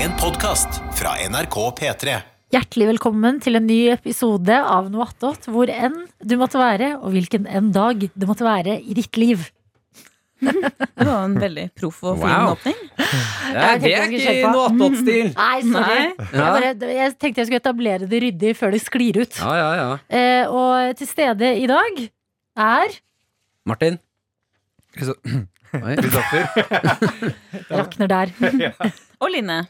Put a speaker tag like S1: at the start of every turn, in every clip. S1: En podcast fra NRK P3.
S2: Hjertelig velkommen til en ny episode av Noe attåt, hvor enn du måtte være, og hvilken enn dag det måtte være i ditt liv.
S3: Det var en veldig proff og fin
S4: Wow.
S3: åpning.
S4: Ja,
S2: Jeg
S4: det
S2: tenkte
S4: er
S2: jeg skulle sjekke
S4: ikke
S2: på.
S4: noe attåt-stil.
S2: Nei, sorry.
S3: Nei.
S2: Jeg, bare, jeg tenkte jeg skulle etablere det ryddig før det sklir ut.
S4: Ja, ja, ja.
S2: Eh, og til stede i dag er
S4: Martin. Oi.
S2: Rakner der.
S3: Og Line.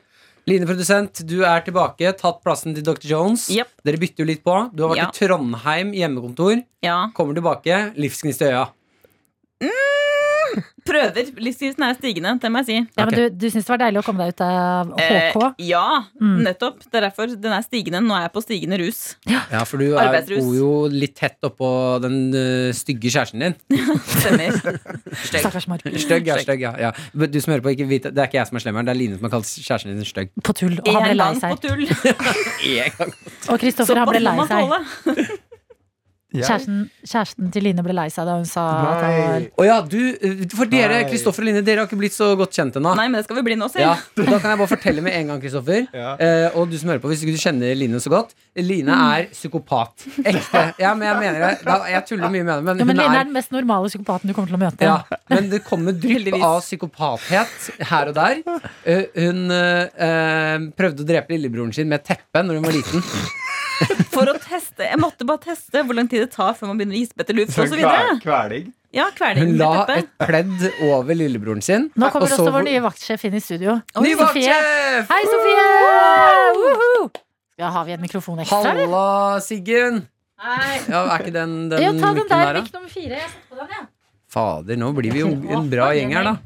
S4: Line produsent, du er tilbake. Tatt plassen til Dr. Jones.
S3: Jep.
S4: Dere bytter jo litt på. Du har vært
S3: Ja.
S4: i Trondheim hjemmekontor.
S3: Ja.
S4: Kommer tilbake. Livsgnist i øya.
S3: Prøver. Livsstilen er stigende, det må jeg si.
S2: Ja, men
S4: Ok.
S2: du, du syns det var deilig å komme deg ut av HK?
S3: Eh, ja,
S2: Mm.
S3: nettopp. Det er derfor den er stigende. Nå er jeg på stigende rus.
S4: Ja, for du er,
S3: Arbeidsrus.
S4: bor jo litt tett oppå den øh, stygge kjæresten din.
S3: Stemmer. Stygg.
S2: Stakkars Mark.
S4: Stygg er stygg, ja. ja. Men Du som hører på, ikke vit at det er ikke jeg som er slemmeren. Det er Line som har kalt kjæresten din stygg.
S2: På tull. Og han ble
S3: En
S2: lei
S3: gang på
S2: seg.
S3: tull.
S4: En gang.
S2: Og Kristoffer, han
S3: Såpass
S2: ble
S3: må
S2: lei
S3: man
S2: seg.
S3: tåle.
S2: Kjæresten, kjæresten til Line ble lei seg da hun sa at han var
S5: Nei.
S4: Å ja, du, øh, for dere,
S5: Nei.
S4: Kristoffer og Line, dere har ikke blitt så godt kjent ennå.
S3: Nei, men det skal vi bli nå selv.
S4: Ja, da kan jeg bare fortelle med en gang, Kristoffer.
S5: Ja.
S4: Eh, og du som hører på, hvis ikke du kjenner Line så godt. Line
S2: Mm.
S4: er psykopat. Ekte. Ja, men jeg mener det. Da, jeg tuller mye med det, men,
S2: ja, men
S4: hun
S2: Line er
S4: er
S2: den mest normale psykopaten du kommer til å møte.
S4: ja, men det kommer drypp
S3: Heldigvis.
S4: av psykopathet her og der. Eh, hun eh, eh, prøvde å drepe lillebroren sin med et teppe når hun var liten.
S3: For å teste. Jeg måtte bare teste hvor lang tid det tar før man begynner å gispe etter luft
S5: Så
S3: osv.
S5: kve- kveling.
S3: Ja,
S4: Hun
S3: kveling
S4: la
S3: med teppe.
S4: et pledd over lillebroren sin.
S2: Nå kommer
S4: og så
S2: også vår
S4: hvor-
S2: nye vaktsjef inn i studio.
S4: Ny
S2: Sofie.
S4: vaktsjef!
S2: Hei, Sofie! Woohoo! Ja, har vi en mikrofon ekstra? eller?
S4: Halla, Siggen. Ja, er ikke den, den
S2: Ja, ta den
S4: mikken
S2: der.
S4: da?
S2: Mikk nummer fire. Jeg setter på den, ja.
S4: Fader, nå blir vi jo en bra gjeng her, da.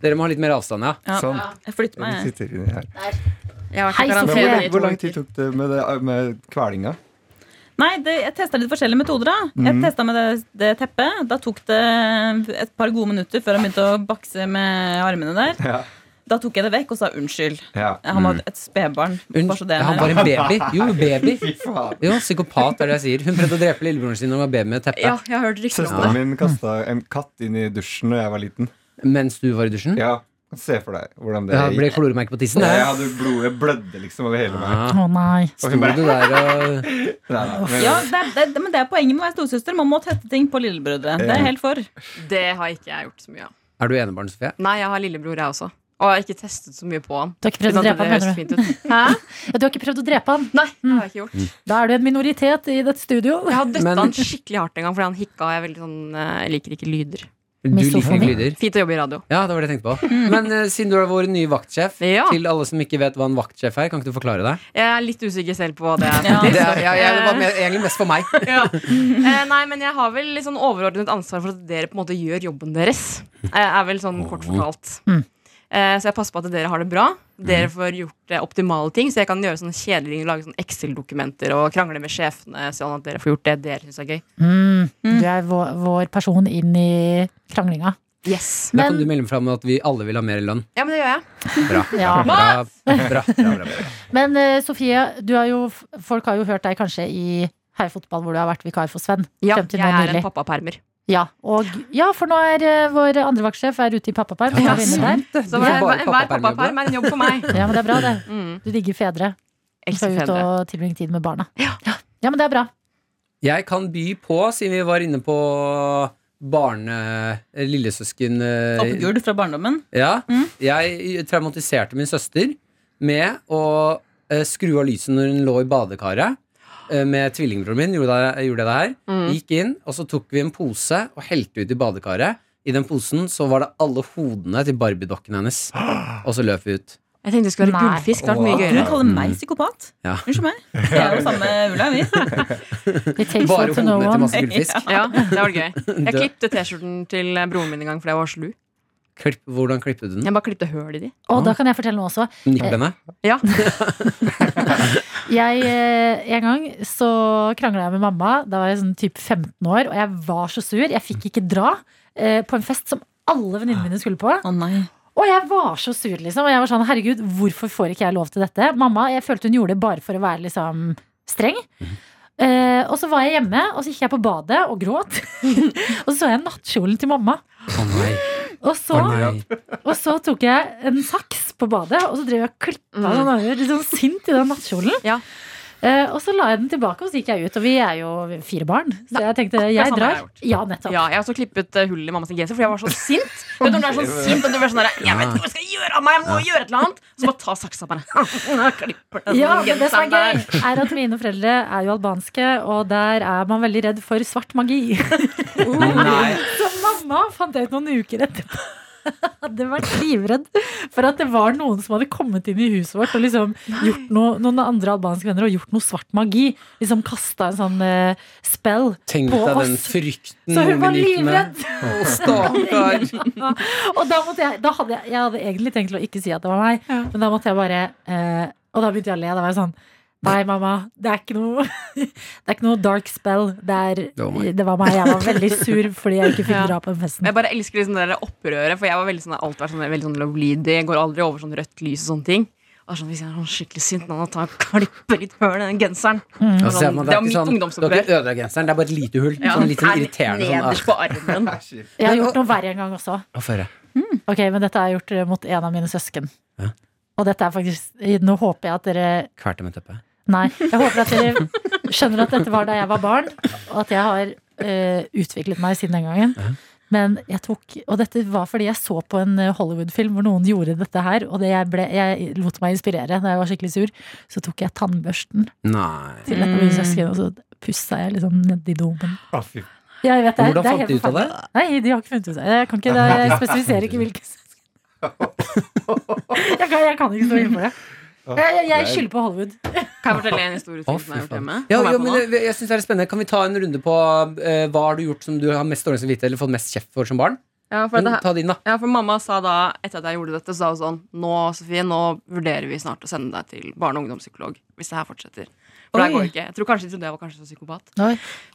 S4: Dere må ha litt mer avstand, ja.
S3: Ja,
S5: Sånn.
S3: Jeg flytter
S5: Vi
S3: meg.
S5: sitter inni her.
S2: Hei,
S5: Men
S2: Sofie.
S5: hvor, hvor lang tid tok det med, det, med kvelinga?
S3: Nei, det, jeg testa litt forskjellige metoder. da
S4: Mhm.
S3: Jeg testa med det, det teppet. Da tok det um, et par gode minutter før han begynte å bakse med armene der.
S5: Ja.
S3: Da tok jeg det vekk og sa unnskyld.
S5: Ja.
S3: Han var et spedbarn. Bare så
S4: Unnskyld,
S3: det er
S4: Mm. han var
S3: med.
S4: en baby. Jo, baby.
S5: Fy faen.
S4: Jo, psykopat er det jeg sier. Hun prøvde å drepe lillebroren sin da hun var baby med et teppe.
S6: Ja, jeg har hørt rykter om det.
S5: Søsteren min kasta en katt inn i dusjen da jeg var liten.
S4: Mens du var i dusjen.
S5: Ja, Se for deg hvordan det
S4: Ja, ble
S5: gikk.
S4: kloremerke på tissen.
S5: Og Jeg
S4: Ja.
S5: hadde blodet blødde liksom over hele meg.
S4: Ah,
S2: Å nei.
S5: Og
S4: Sto du
S5: hun bare
S4: der og
S5: Nei, nei, men-
S3: Ja, det, er- det, er- men det er poenget med å være storesøster. Man må tette ting på lillebrødre. Det er jeg helt for.
S6: Det har ikke jeg gjort så mye av.
S4: Er du enebarn, Sofie?
S6: Nei, jeg har lillebror, jeg også. Og jeg har ikke testet så mye på han.
S2: Du har ikke prøvd å
S6: Uten at
S2: drepe han,
S6: Sånn det høres
S2: mener du?
S6: fint ut. Hæ?
S2: Ja, Du har ikke prøvd å drepe han?
S6: Nei, det har jeg ikke gjort.
S2: Da er du en minoritet i dette studio.
S6: Jeg har døtta
S4: Men-
S6: han skikkelig hardt en gang fordi han hikka. og Jeg, er veldig sånn, eh, jeg liker ikke lyder.
S4: Du liker ikke
S2: Misofoni.
S4: lyder.
S6: Fint å jobbe i radio.
S4: Ja, det var det jeg tenkte på. Men eh, siden du er vår nye vaktsjef,
S6: Ja.
S4: til alle som ikke vet hva en vaktsjef er, kan ikke du forklare deg?
S6: Jeg er litt usikker selv på hva det er.
S3: Ja.
S4: Det, er, ja, ja, det var mer- egentlig mest for meg.
S6: Ja. Eh, Nei, men jeg har vel litt sånn overordnet ansvar for at dere på en måte gjør jobben deres. Eh, Er vel sånn kort fortalt.
S2: Mm.
S6: Eh, Så jeg passer på at dere har det bra. Dere får gjort eh, optimale ting, så jeg kan gjøre sånne kjedelige ting, lage sånne Excel-dokumenter og krangle med sjefene, sånn at dere får gjort det dere syns er gøy.
S2: Mm. Du er vår, vår person inn i kranglinga.
S6: Yes.
S4: Da
S2: Men-
S4: kan du melde fra om at vi alle vil ha mer lønn.
S6: Ja, men det gjør jeg.
S4: Bra.
S2: Ja.
S4: Bra, bra, bra, bra, bra.
S2: Men eh, Sofie, du har jo, folk har jo hørt deg kanskje i Heia fotball, hvor du har vært vikar for Sven.
S6: Ja,
S2: frem til nå
S6: jeg er
S2: nylig.
S6: en pappapermer.
S2: Ja, og, ja, for nå er eh, vår andre vaktsjef er ute i pappaperm.
S4: Ja,
S2: Ja, der.
S4: Det
S6: Så
S4: er
S6: hver,
S4: bare
S6: hver
S4: pappaperm-jobb,
S6: pappaperm er en jobb for meg.
S2: ja, men det er bra, det.
S6: Mm.
S2: Du digger fedre. Du
S6: Elsker
S2: skal ut
S6: fedre.
S2: og tilbringe tid med barna. Ja. ja, men det er bra.
S4: Jeg kan by på, siden vi var inne på barne... eh, Lillesøsken eh,
S3: Oppgulv fra barndommen.
S4: Ja.
S3: Mm.
S4: Jeg traumatiserte min søster med å eh, skru av lyset når hun lå i badekaret. eh, Med tvillingbroren min gjorde det, gjorde jeg det her.
S6: Mm.
S4: Gikk inn, og så tok vi en pose og helte ut i badekaret. I den posen så var det alle hodene til Barbie-dokken hennes. Og så løp vi ut.
S6: Jeg tenkte det skulle være
S2: Nei.
S6: gullfisk. Det hadde vært mye
S3: Kan
S6: gøyere.
S3: du kalle meg psykopat?
S4: Mm. Ja.
S3: Unnskyld meg. Vi er jo samme ulla, vi.
S2: It takes
S4: Bare
S2: all to know
S4: hodene til
S2: one.
S4: masse gullfisk.
S6: Ja, det var gøy. Jeg
S4: Død.
S6: klippte T-skjorten til broren min en gang fordi jeg var slu.
S4: Klipp, hvordan klippet du den?
S6: Jeg bare klippte høl i de.
S2: Og da kan jeg fortelle noe også.
S4: Nipplene?
S6: Ja,
S2: Jeg, eh, en gang så krangla jeg med mamma. Da var jeg sånn typ 15 år, og jeg var så sur. Jeg fikk ikke dra eh, på en fest som alle venninnene mine skulle på.
S3: Å nei.
S2: Og jeg var så sur, liksom. Og jeg var sånn, herregud, hvorfor får ikke jeg lov til dette? Mamma, jeg følte hun gjorde det bare for å være liksom streng.
S4: Mhm.
S2: Eh, og så var jeg hjemme, og så gikk jeg på badet og gråt. og så så jeg nattkjolen til mamma.
S4: Å nei.
S2: Og så,
S4: Å nei.
S2: og så tok jeg en saks på badet, og så drev jeg og klippa
S6: Mm.
S2: sånn, jeg var litt sånn sint i den nattkjolen.
S6: Ja.
S2: Eh, og så la jeg den tilbake, og så gikk jeg ut. Og vi er jo fire barn, så jeg tenkte jeg
S6: samme
S2: drar.
S6: har
S2: Ja, nettopp.
S6: Ja, jeg har også klippet eh, hull i mammas genser fordi jeg var så sint. Vet du når du er sånn sint og du blir sånn der, Jeg vet ikke hva jeg skal gjøre av meg, jeg må gjøre et eller annet. Så bare ta saksa bare. Jeg klipper den
S2: Ja, men det som er
S6: genseren der.
S2: gøy, er at mine foreldre er jo albanske, og der er man veldig redd for svart magi.
S4: Nei.
S2: Så mamma fant jeg ut noen uker etterpå. Hadde vært livredd for at det var noen som hadde kommet inn i huset vårt og liksom gjort noe, noen andre albanske venner og gjort noe svart magi. Liksom kasta en sånn eh, spell.
S4: Tenk
S2: På
S4: deg den
S2: oss.
S4: frykten
S2: Så hun var
S4: ungen gikk med.
S2: livredd!
S4: Å, stakkar.
S2: Og da måtte jeg, da hadde jeg, jeg hadde egentlig tenkt å ikke si at det var meg, men da måtte jeg bare eh, Og da begynte jeg å le. Da var jeg sånn Nei, mamma. Det er ikke noe Det er ikke noe dark spell. Det, er,
S4: Det var meg.
S2: det var meg. Jeg var veldig sur fordi jeg ikke fikk
S6: Ja.
S2: dra på den festen.
S6: Men Jeg bare elsker liksom det der opprøret, for jeg var veldig sånn, alltid vært sånn, veldig sånn lovlydig. Jeg går aldri over sånn rødt lys og sånne ting. Og det er sånn, hvis jeg er sånn skikkelig sint nå, da tar jeg og klipper litt høl i den genseren.
S4: Og så ser man, det er
S6: Det var
S4: ikke
S6: mitt
S4: sånn, du har
S6: ungdomsopprør.
S4: ikke ødela genseren, det er bare et lite hull. Sånn litt sånn irriterende sånn.
S6: Nederst
S4: ah,
S6: på armen.
S5: Det er kjipt.
S2: Jeg har gjort noe verre en gang også.
S4: å, få høre.
S2: Ok, men dette har jeg gjort eh, mot en av mine søsken.
S4: Ja.
S2: Og dette er faktisk Nå håper jeg at dere
S4: Kvelte med teppet.
S2: Nei, jeg håper at dere skjønner at dette var da jeg var barn, og at jeg har eh, utviklet meg siden den gangen. Men jeg tok, Og dette var fordi jeg så på en eh, Hollywood-film hvor noen gjorde dette her, og det jeg, ble, jeg lot meg inspirere da jeg var skikkelig sur. Så tok jeg tannbørsten
S4: Nei.
S2: til en av mine søsken, og så pussa jeg liksom nedi domen.
S5: Å, Ah, fy.
S2: Jeg vet, det er- det er
S4: Hvordan fant
S2: helt
S4: de ut av det?
S2: forferdelig. Nei, de har ikke funnet ut det. Jeg kan ikke, det- jeg spesifiserer ikke hvilke søsken. Jeg kan, jeg kan ikke stå inne for det. Jeg, jeg, jeg skylder på Hollywood.
S6: Kan jeg fortelle en historie
S4: Å,
S6: til som
S4: fy
S6: jeg har gjort
S4: faen.
S6: hjemme?
S4: Ja,
S6: Kommer jeg
S4: ja,
S6: på
S4: men
S6: nå?
S4: jeg, jeg synes det er spennende Kan vi ta en runde på eh, hva har du gjort som du har mest dårlig samvittighet eller fått mest kjeft for som barn?
S6: ja, for det her,
S4: Ta din, da.
S6: Ja, for mamma sa da, etter at jeg gjorde dette, så sa hun sånn Nå, Sofie, nå vurderer vi snart å sende deg til barne- og ungdomspsykolog hvis det her fortsetter. For det
S2: Oi.
S6: her går ikke. Jeg tror kanskje de trodde jeg var kanskje så psykopat.
S2: Oi.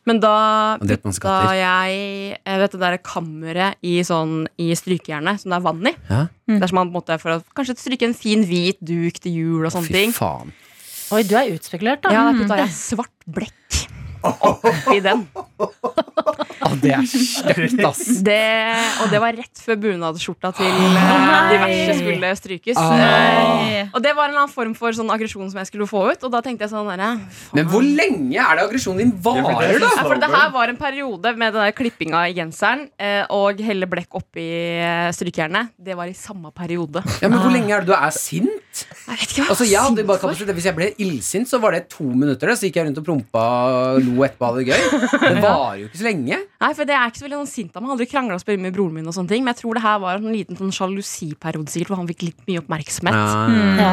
S6: Men da
S4: Og det at man
S6: putta
S4: skatter.
S6: jeg eh, vet, det der kammeret i, sånn, i strykejernet som det er vann i.
S4: Ja.
S6: Det er som man på en måte for å kanskje stryke en fin hvit duk til jul og sånne
S4: Fy
S6: ting.
S4: faen.
S2: Oi, du er utspekulert, da.
S6: Ja, da putta jeg svart blekk oppi den.
S4: Å, Ah, det er stygt, ass.
S6: Det, og det var rett før bunadsskjorta til
S4: Ah,
S6: eh,
S3: nei.
S6: diverse skulle strykes. Eh,
S3: Nei.
S6: Og det var en eller annen form for sånn aggresjon som jeg skulle få ut. Og da tenkte jeg sånn derre faen.
S4: Men hvor lenge er det aggresjonen din varer, da?
S6: ja, For det her var en periode med den der klippinga i genseren eh, og helle blekk oppi eh, strykejernet. Det var i samme periode.
S4: Ja, men hvor lenge er det du er sint?
S6: Jeg vet ikke hva
S4: Altså, jeg
S6: var
S4: hadde
S6: sint
S4: bare
S6: for.
S4: kapasitet Hvis jeg ble illsint, så var det to minutter. Da. Så gikk jeg rundt og prompa og lo etterpå og hadde det gøy. Det varer jo ikke så lenge.
S6: Nei, for det er ikke så veldig sånn sint av meg. Jeg har Aldri krangla og spurt med broren min og sånne ting. Men jeg tror det her var en liten sånn sjalusiperiode sikkert, hvor han fikk litt mye oppmerksomhet.
S2: Ja.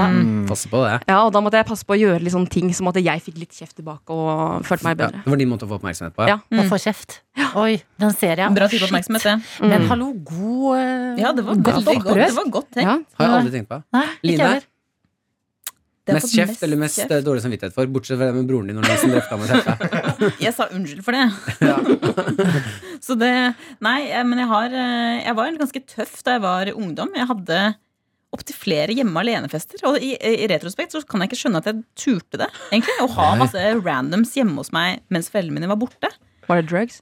S4: Passe på det.
S6: Ja, og da måtte jeg passe på å gjøre litt sånne ting som at jeg fikk litt kjeft tilbake og følte meg
S4: Ja,
S6: bedre.
S4: det var din måte å få oppmerksomhet på.
S6: Ja.
S2: Mm. Og får kjeft. Oi, den ser jeg.
S3: Bra type oppmerksomhet, det.
S6: Mm.
S2: Men hallo, god eh,
S3: Ja, det var
S2: godt
S3: veldig godt. Det
S2: opprør.
S3: var godt tenkt.
S6: Ja.
S4: Har jeg aldri tenkt på.
S2: Nei,
S4: Line?
S2: ikke heller.
S3: Det har
S4: Mest
S3: fått
S4: kjeft eller mest
S3: kjeft.
S4: eh, dårlig samvittighet for, bortsett fra det med broren din og den som drepte ham med teppet.
S3: Jeg sa unnskyld for det. så det Nei, jeg- men jeg har eh, Jeg var ganske tøff da jeg var ungdom. Jeg hadde opptil flere hjemme alene-fester. Og i, eh, i retrospekt så kan jeg ikke skjønne at jeg turte det. egentlig Å ha
S4: Nei.
S3: masse randoms hjemme hos meg mens foreldrene mine var borte.
S6: Var det drugs?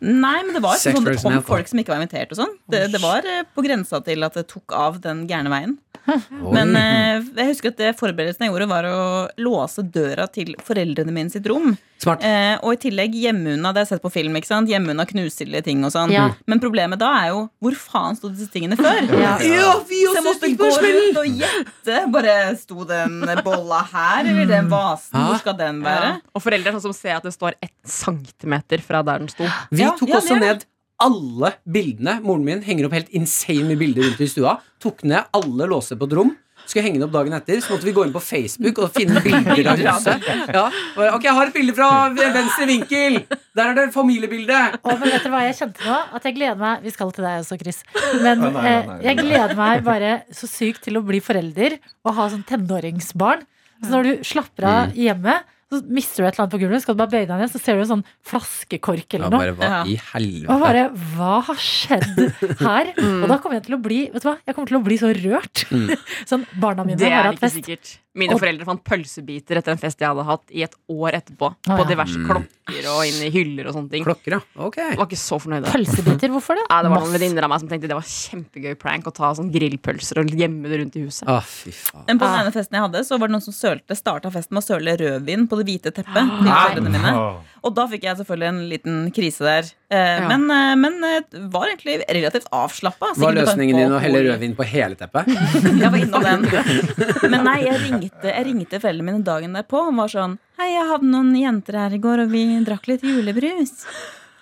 S3: Nei, men det var
S4: Sex,
S3: sånn det
S4: drugs and
S3: kom
S4: alcohol.
S3: folk som ikke var invitert og sånn. Det, det var eh, på grensa til at det tok av den gærne veien.
S4: Oi.
S3: Men eh, jeg husker at det forberedelsen jeg gjorde, var å låse døra til foreldrene mine sitt rom.
S4: Smart.
S3: Eh, og i tillegg hjemmeunna. Det har jeg sett på film. ikke sant? Hjemmeunna knusilde ting og sånn.
S2: Ja.
S3: Men problemet da er jo hvor faen sto disse tingene før?
S2: Ja.
S4: vi
S3: Så jeg måtte gå rundt og gjette. Bare sto den bolla her, eller den vasen?
S4: Hæ?
S3: Hvor skal den være?
S6: Og foreldre er sånn som ser at det står ett centimeter fra der den sto.
S4: Vi
S3: Ja,
S4: tok
S3: ja,
S4: også
S3: det er
S4: ned alle bildene. Moren min henger opp helt insane mye bilder rundt i stua. Tok ned alle låser på et rom. Skulle henge det opp dagen etter, så måtte vi gå inn på Facebook og finne bilder av huset. Ja, bare, ok, jeg har et bilde fra venstre vinkel! Der er det familiebildet!
S2: Å, men vet dere hva jeg kjente nå? At jeg gleder meg Vi skal til deg også, Chris. Men
S5: Å, nei, nei, nei.
S2: eh, jeg gleder meg bare så
S5: Mm.
S2: sykt til å bli forelder og ha sånn tenåringsbarn. Så når du slapper av hjemme, Så mister du et eller annet på gulvet, skal du bare bøye deg ned, så ser du en sånn flaskekork
S7: Ja,
S2: eller noe.
S7: bare hva
S3: Ja.
S7: i
S2: Og
S7: helvete?
S2: bare Hva har skjedd her?
S6: Mm.
S2: Og da kommer jeg til å bli Vet du hva, jeg kommer til å bli så rørt.
S5: Mm.
S2: sånn, barna mine
S6: Det
S2: har
S6: er
S2: hatt
S6: ikke
S2: fest.
S6: sikkert. Mine
S2: Og-
S6: foreldre fant pølsebiter etter en fest jeg hadde hatt i et år etterpå.
S2: ja.
S6: På diverse klokker og inn i hyller og sånne ting.
S4: Klokker, ja. Ok.
S6: Jeg var ikke så fornøyd. da.
S2: Pølsebiter, hvorfor det?
S6: Ja, det var noen
S2: Masse.
S6: venninner av meg som tenkte det var kjempegøy prank å ta sånn grillpølser og gjemme det rundt i huset.
S4: Å, fy faen.
S3: Men på den ene festen jeg hadde, så var det noen som sølte, starta festen med å søle rødvin på det hvite teppet. til
S4: Ah.
S3: foreldrene mine.
S5: Åh.
S3: Og da fikk jeg selvfølgelig en liten krise der. Eh,
S6: Ja.
S3: Men, eh, men eh, var egentlig relativt avslappa.
S4: Var løsningen din å helle rødvin på hele teppet?
S3: Jeg var innom den. Men nei, jeg ringte, jeg ringte foreldrene mine dagen derpå og var sånn Hei, jeg hadde noen jenter her i går, og vi drakk litt julebrus.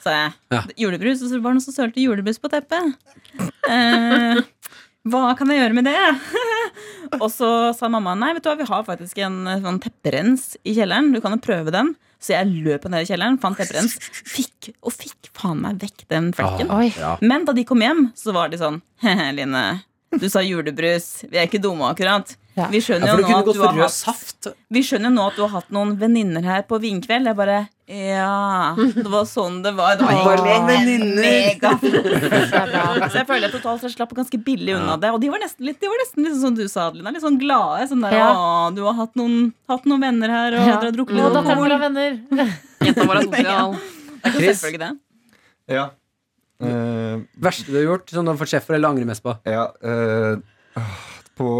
S3: Sa jeg.
S4: Ja.
S3: Julebrus, og så var det noen som sølte julebrus på teppet. Eh, hva kan jeg gjøre med det? og så sa mamma nei, vet du hva, vi har faktisk en eh, sånn tepperens i kjelleren. Du kan jo prøve den. Så jeg løp ned i kjelleren, fant tepperens, fikk og fikk faen meg vekk den
S4: Ah.
S3: flekken.
S2: Oi.
S3: Men da de kom hjem, så var de sånn Hehe, Line, du sa julebrus. Vi er ikke dumme, akkurat.
S2: Ja.
S3: Vi
S4: Ja,
S3: skjønner
S4: for
S3: jo
S4: du
S3: nå
S4: kunne
S3: at
S4: gått
S3: du
S4: for
S3: har
S4: rød
S3: hatt
S4: saft.
S3: Vi skjønner jo nå at du har hatt noen venninner her på vinkveld. Jeg bare Ja, det var sånn det var. Det var
S4: Bare venninner.
S3: så jeg føler jeg totalt sett slapp ganske billig unna det. Og de var nesten litt, de var nesten litt sånn som du sa, Adelina. Litt sånn glade. Sånn der,
S2: Ja.
S3: Å, du har hatt noen, hatt noen venner her, og
S2: Ja.
S3: dere har drukket
S2: Og
S3: litt
S2: datteren vår
S3: alkohol.
S2: har venner.
S6: Jenta vår er sosial.
S3: Det er ikke
S4: Chris?
S3: selvfølgelig det.
S5: Ja. Eh,
S4: Verste du har gjort, som du har fått sjef for eller angrer mest på?
S5: ja eh, åh, på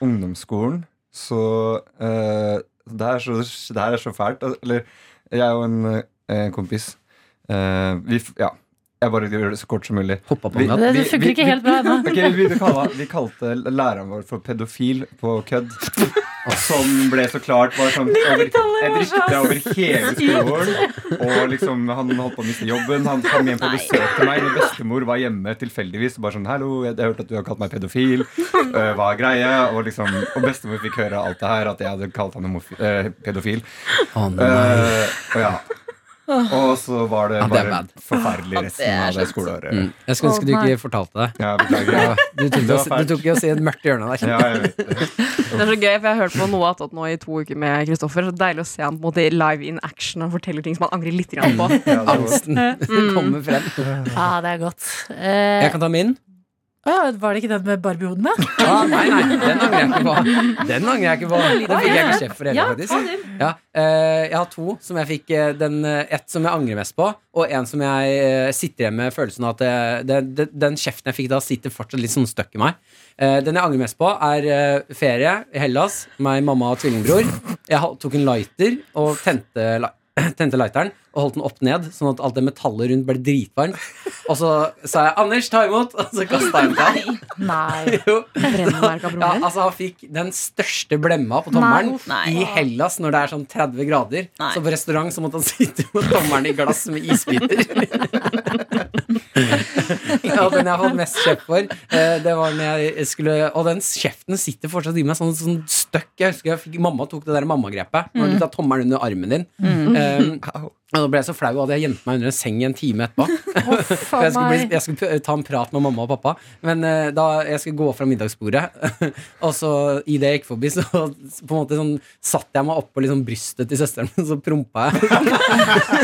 S5: ungdomsskolen så eh, det, her er så det her er så fælt. Al- Eller jeg og en, eh, en kompis eh, vi, f- Ja. Jeg bare gjør det så kort som mulig.
S4: Hoppa på en
S5: Vi-
S4: gang.
S2: Det, det
S5: vi-
S2: funker
S5: vi-
S2: ikke helt bra ennå.
S5: Ok, vi, begynte å kalle, vi kalte læreren vår for pedofil på kødd. Som ble så klart var sånn over, et rykte over hele skolen. Og liksom, han holdt på å miste jobben. Han kom hjem på besøk til meg. Min bestemor var hjemme tilfeldigvis. Og bare sånn, hallo, jeg har hørt at du har kalt meg pedofil. Øh, hva er greia? Og, liksom, og bestemor fikk høre alt det her, at jeg hadde kalt han homofi- øh, pedofil.
S4: Å, nei.
S5: Øh, og ja. Og så var det
S4: Ja, det er
S5: bare
S4: bad.
S5: forferdelig
S3: det
S5: resten
S3: er
S5: av det skoleåret.
S4: Mm. Jeg skulle ønske du
S2: Å, nei.
S4: ikke fortalte det.
S5: Ja, beklager.
S4: Ja, Du tok
S5: Det var
S4: oss- du tok i å si et mørkt hjørne der.
S5: Ja, jeg vet det.
S6: Det er så gøy, for jeg har hørt på noe attåt nå i to uker med Kristoffer. Så deilig å se han på en måte live in action og fortelle ting som han angrer litt grann på.
S5: Ja, det var-
S4: Angsten kommer frem.
S2: Ja, det er godt.
S4: Jeg
S2: Eh,
S4: kan ta min.
S2: å, var det ikke den med Barbie-hodene?
S4: Ah, nei, nei, den angrer jeg ikke på. Den angrer jeg ikke på. Den fikk jeg ikke sjef for heller, faktisk. Ja, eh, jeg har to som jeg fikk eh, den, eh, Ett som jeg angrer mest på, og en som jeg eh, sitter igjen med følelsen av at eh, det, det, den kjeften jeg fikk da, sitter fortsatt litt sånn støkk i meg. Eh, den jeg angrer mest på, er eh, ferie i Hellas. Meg, mamma og tvillingbror. Jeg ha- tok en lighter og tente, li- tente lighteren og holdt den opp ned, sånn at alt det metallet rundt ble dritvarmt. Og så sa jeg 'Anders, ta imot', og så kasta jeg den til han.
S2: Nei.
S4: Jo.
S6: Brennemerka
S4: Ja,
S6: broren din.
S4: altså Han fikk den største blemma på tommelen
S3: Nei.
S4: i Hellas når det er sånn 30 grader.
S3: Nei.
S4: Så på restaurant så måtte han sitte med tommelen i glass med isbiter. ja, den jeg har fått mest kjeft for, eh, det var når jeg skulle Og den kjeften sitter fortsatt i meg sånn, sånn støkk. Jeg husker jeg fikk, mamma tok det der mammagrepet. Når
S3: Mm.
S4: du tar tommelen under armen din. Eh, og da ble jeg så flau at jeg gjemte meg under en seng i en time etterpå.
S2: Å,
S4: For
S2: faen
S4: jeg skulle, bli,
S2: meg.
S4: jeg skulle p- ta en prat med mamma og pappa, men eh, da jeg skulle gå fra middagsbordet, og så i det jeg gikk forbi, så på en måte sånn, satte jeg meg oppå liksom brystet til søsteren min, så prompa jeg.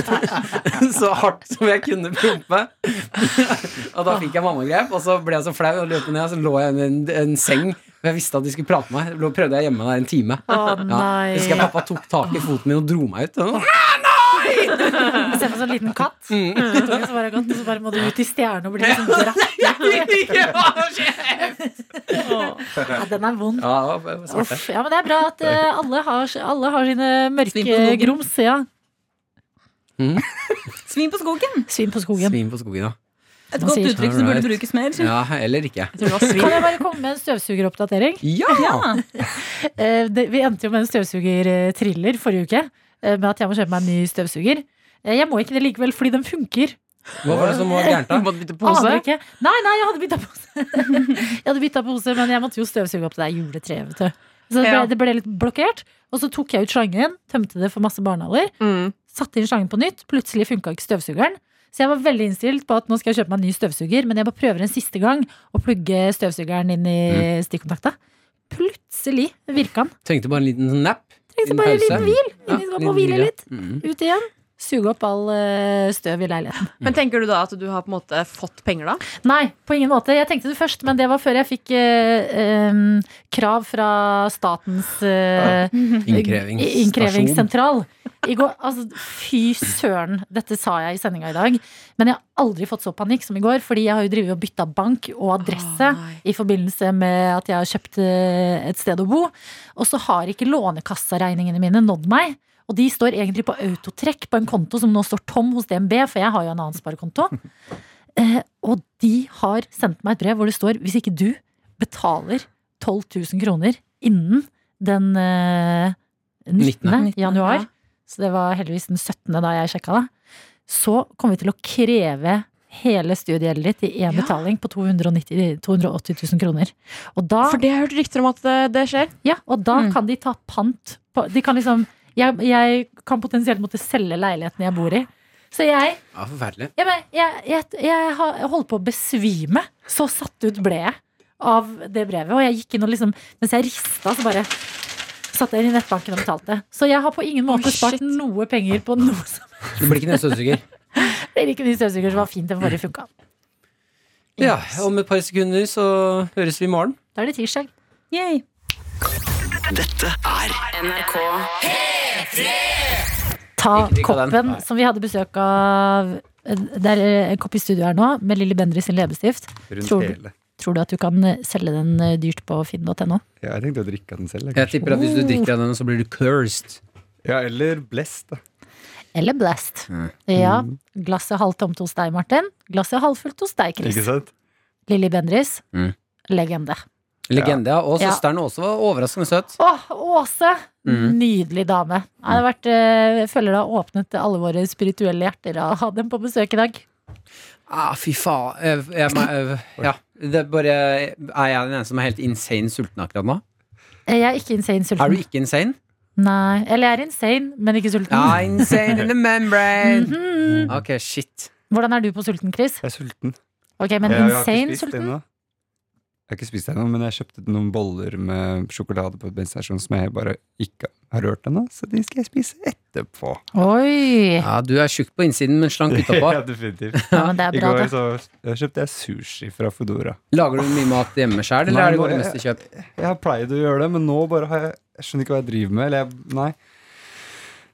S4: så hardt som jeg kunne prompe. og da fikk jeg mammagrep, og så ble jeg så flau, og løp ned, og så lå jeg under en, en seng. For jeg visste at de skulle prate med meg. Lå- Prøvde jeg å gjemme meg der en time.
S2: Å
S4: Ja.
S2: nei.
S4: Husker jeg
S2: Se
S4: pappa tok tak i foten min og dro meg ut. Og
S2: på sånn liten katt.
S4: Mm.
S2: Utunge som bare har gått, og så bare må du ut i stjernen og bli liksom dratt. Ja, den er vond.
S4: Ja, det var smart, det.
S2: Uff, ja, men det er bra at eh, alle, har, alle har sine
S3: Svin på skogen.
S2: mørke grums. Ja.
S3: Svin på skogen.
S2: Svin på skogen.
S4: Svin på skogen, ja.
S3: Et
S2: Man
S3: godt
S2: sier-
S3: uttrykk som burde
S4: Alright.
S3: brukes mer.
S4: ja. Eller ikke.
S6: Jeg tror det var svin.
S2: Kan jeg bare komme med en støvsugeroppdatering?
S4: Ja!
S2: Eh, det, vi endte jo med en støvsugertriller forrige uke. eh, Med at jeg må kjøpe meg en ny støvsuger. Eh, Jeg må ikke det likevel, fordi den funker.
S4: Hva var det som var gærent, da?
S6: Måtte bytte
S2: Aner
S6: pose.
S2: ikke. Nei, nei, jeg hadde bytta pose. jeg hadde byttet pose, Men jeg måtte jo støvsuge opp det der juletreet. vet du. Så det ble,
S6: Ja.
S2: det ble litt blokkert. Og så tok jeg ut slangen, tømte det for masse barnehaler.
S6: Mm.
S2: Satte inn slangen på nytt. Plutselig funka ikke støvsugeren. Så jeg var veldig innstilt på at nå skal jeg kjøpe meg en ny støvsuger, men jeg bare prøver en siste gang å plugge støvsugeren inn i stikkontakta. Plutselig virka den.
S4: Trengte bare en liten sånn napp.
S2: Liksom
S4: Liten
S2: bare en
S4: pause.
S2: liten hvil. Inni
S4: Ja,
S2: så man
S4: liten
S2: må hvile
S4: hvile. Mm.
S2: litt. Ut igjen. Mm. Suge opp all eh, støv i leiligheten.
S6: Men tenker du da at du har på en måte fått penger da?
S2: Nei, på ingen måte. Jeg tenkte det først, men det var før jeg fikk eh, em, krav fra statens eh,
S4: Innkrevingsstasjon.
S2: Innkrevingssentral. I går, altså, fy søren, dette sa jeg i sendinga i dag. Men jeg har aldri fått så panikk som i går, fordi jeg har jo drevet og bytta bank og adresse
S6: Å, nei.
S2: i forbindelse med at jeg har kjøpt eh, et sted å bo. Og så har ikke lånekassaregningene mine nådd meg. Og de står egentlig på autotrekk på en konto som nå står tom hos DNB, for jeg har jo en annen sparekonto. Eh, og de har sendt meg et brev hvor det står hvis ikke du betaler 12 000 kroner innen den eh, 19.
S4: 19.
S2: januar,
S6: Ja.
S2: så det var heldigvis den 17. da jeg sjekka det, så kommer vi til å kreve hele studiegjeldet ditt i én
S6: Ja.
S2: betaling på 290, 280 000 kroner. Og da,
S6: For det har jeg hørt rykter om at eh, det skjer.
S2: ja, og da
S3: Mm.
S2: kan de ta pant på De kan liksom jeg, jeg kan potensielt måtte selge leiligheten jeg bor i. Så jeg
S4: Ja, forferdelig.
S2: ja, men jeg, jeg, jeg har jeg holdt på å besvime. Så satt ut ble jeg av det brevet. Og jeg gikk inn og liksom Mens jeg rista, så bare satt jeg i nettbanken og betalte. Så jeg har på ingen måte
S6: Oi,
S2: spart
S6: shit.
S2: noe penger på noe som
S4: Du blir ikke nesestøvsuger.
S2: Det er ikke ny støvsuger som var fint den forrige funka.
S4: Ja, om et par sekunder så høres vi i morgen.
S2: Da er det tirsdag.
S3: Yay.
S2: Ta
S4: Ikke drikk av den.
S2: koppen
S4: Nei.
S2: som vi hadde besøk av Det er en kopp i studio her nå, med Lilly Bendriss sin leppestift.
S5: Rundt
S2: Tror du-
S5: hele.
S2: Tror du at du kan selge den eh, dyrt på finn.no?
S5: Ja, jeg tenkte å drikke av den selv.
S4: Jeg
S5: jeg, kanskje.
S4: tipper at hvis
S2: Oh.
S4: du drikker av denne, så blir du cursed.
S5: Ja, eller blest, da.
S2: Eller Blast.
S4: Mm.
S2: Ja.
S5: Mm.
S2: Glasset halvtomt hos deg, Martin. Glasset halvfullt hos deg, Chris.
S5: Ikke sant?
S2: Lilly Bendriss,
S4: Mm.
S2: legende.
S4: Legende, ja. Og
S2: Ja.
S4: søsteren også var overraskende søt.
S2: Åh, Åse!
S4: Mm.
S2: Nydelig dame. Nei, det har vært, eh, jeg føler det har åpnet alle våre spirituelle hjerter av å ha dem på besøk i dag.
S4: Ah, fy faen. Jeg, jeg, jeg, ja. Det er bare Er jeg den ene som er helt insane sulten akkurat nå?
S2: Eh, Jeg er ikke insane
S4: Er
S2: sulten.
S4: du ikke insane?
S2: Nei, Eller jeg er insane, men ikke sulten.
S4: Ja, insane in the membrane. Ok, shit.
S2: Hvordan er du på sulten, Chris?
S5: Jeg er sulten.
S2: Ok, men
S5: jeg, jeg har ikke
S2: insane
S5: spist
S2: sulten?
S5: ennå. Jeg har ikke spist ennå, men jeg kjøpte noen boller med sjokolade på bensinstasjonen som jeg bare ikke har rørt ennå, så de skal jeg spise etterpå.
S2: Oi!
S4: Ja, du er tjukk på innsiden, men slank utapå.
S5: definitivt.
S2: Eh. Ja, men det er
S5: I
S2: bra,
S5: går
S2: det.
S5: så jeg kjøpte jeg sushi fra Foodora.
S4: Lager du mye mat hjemme sjøl, eller
S5: Nei,
S4: er det
S5: nå-
S4: bare mest i kjøp?
S5: Jeg har pleid å gjøre det, men nå bare har jeg Jeg skjønner ikke hva jeg driver med. Eller jeg Nei.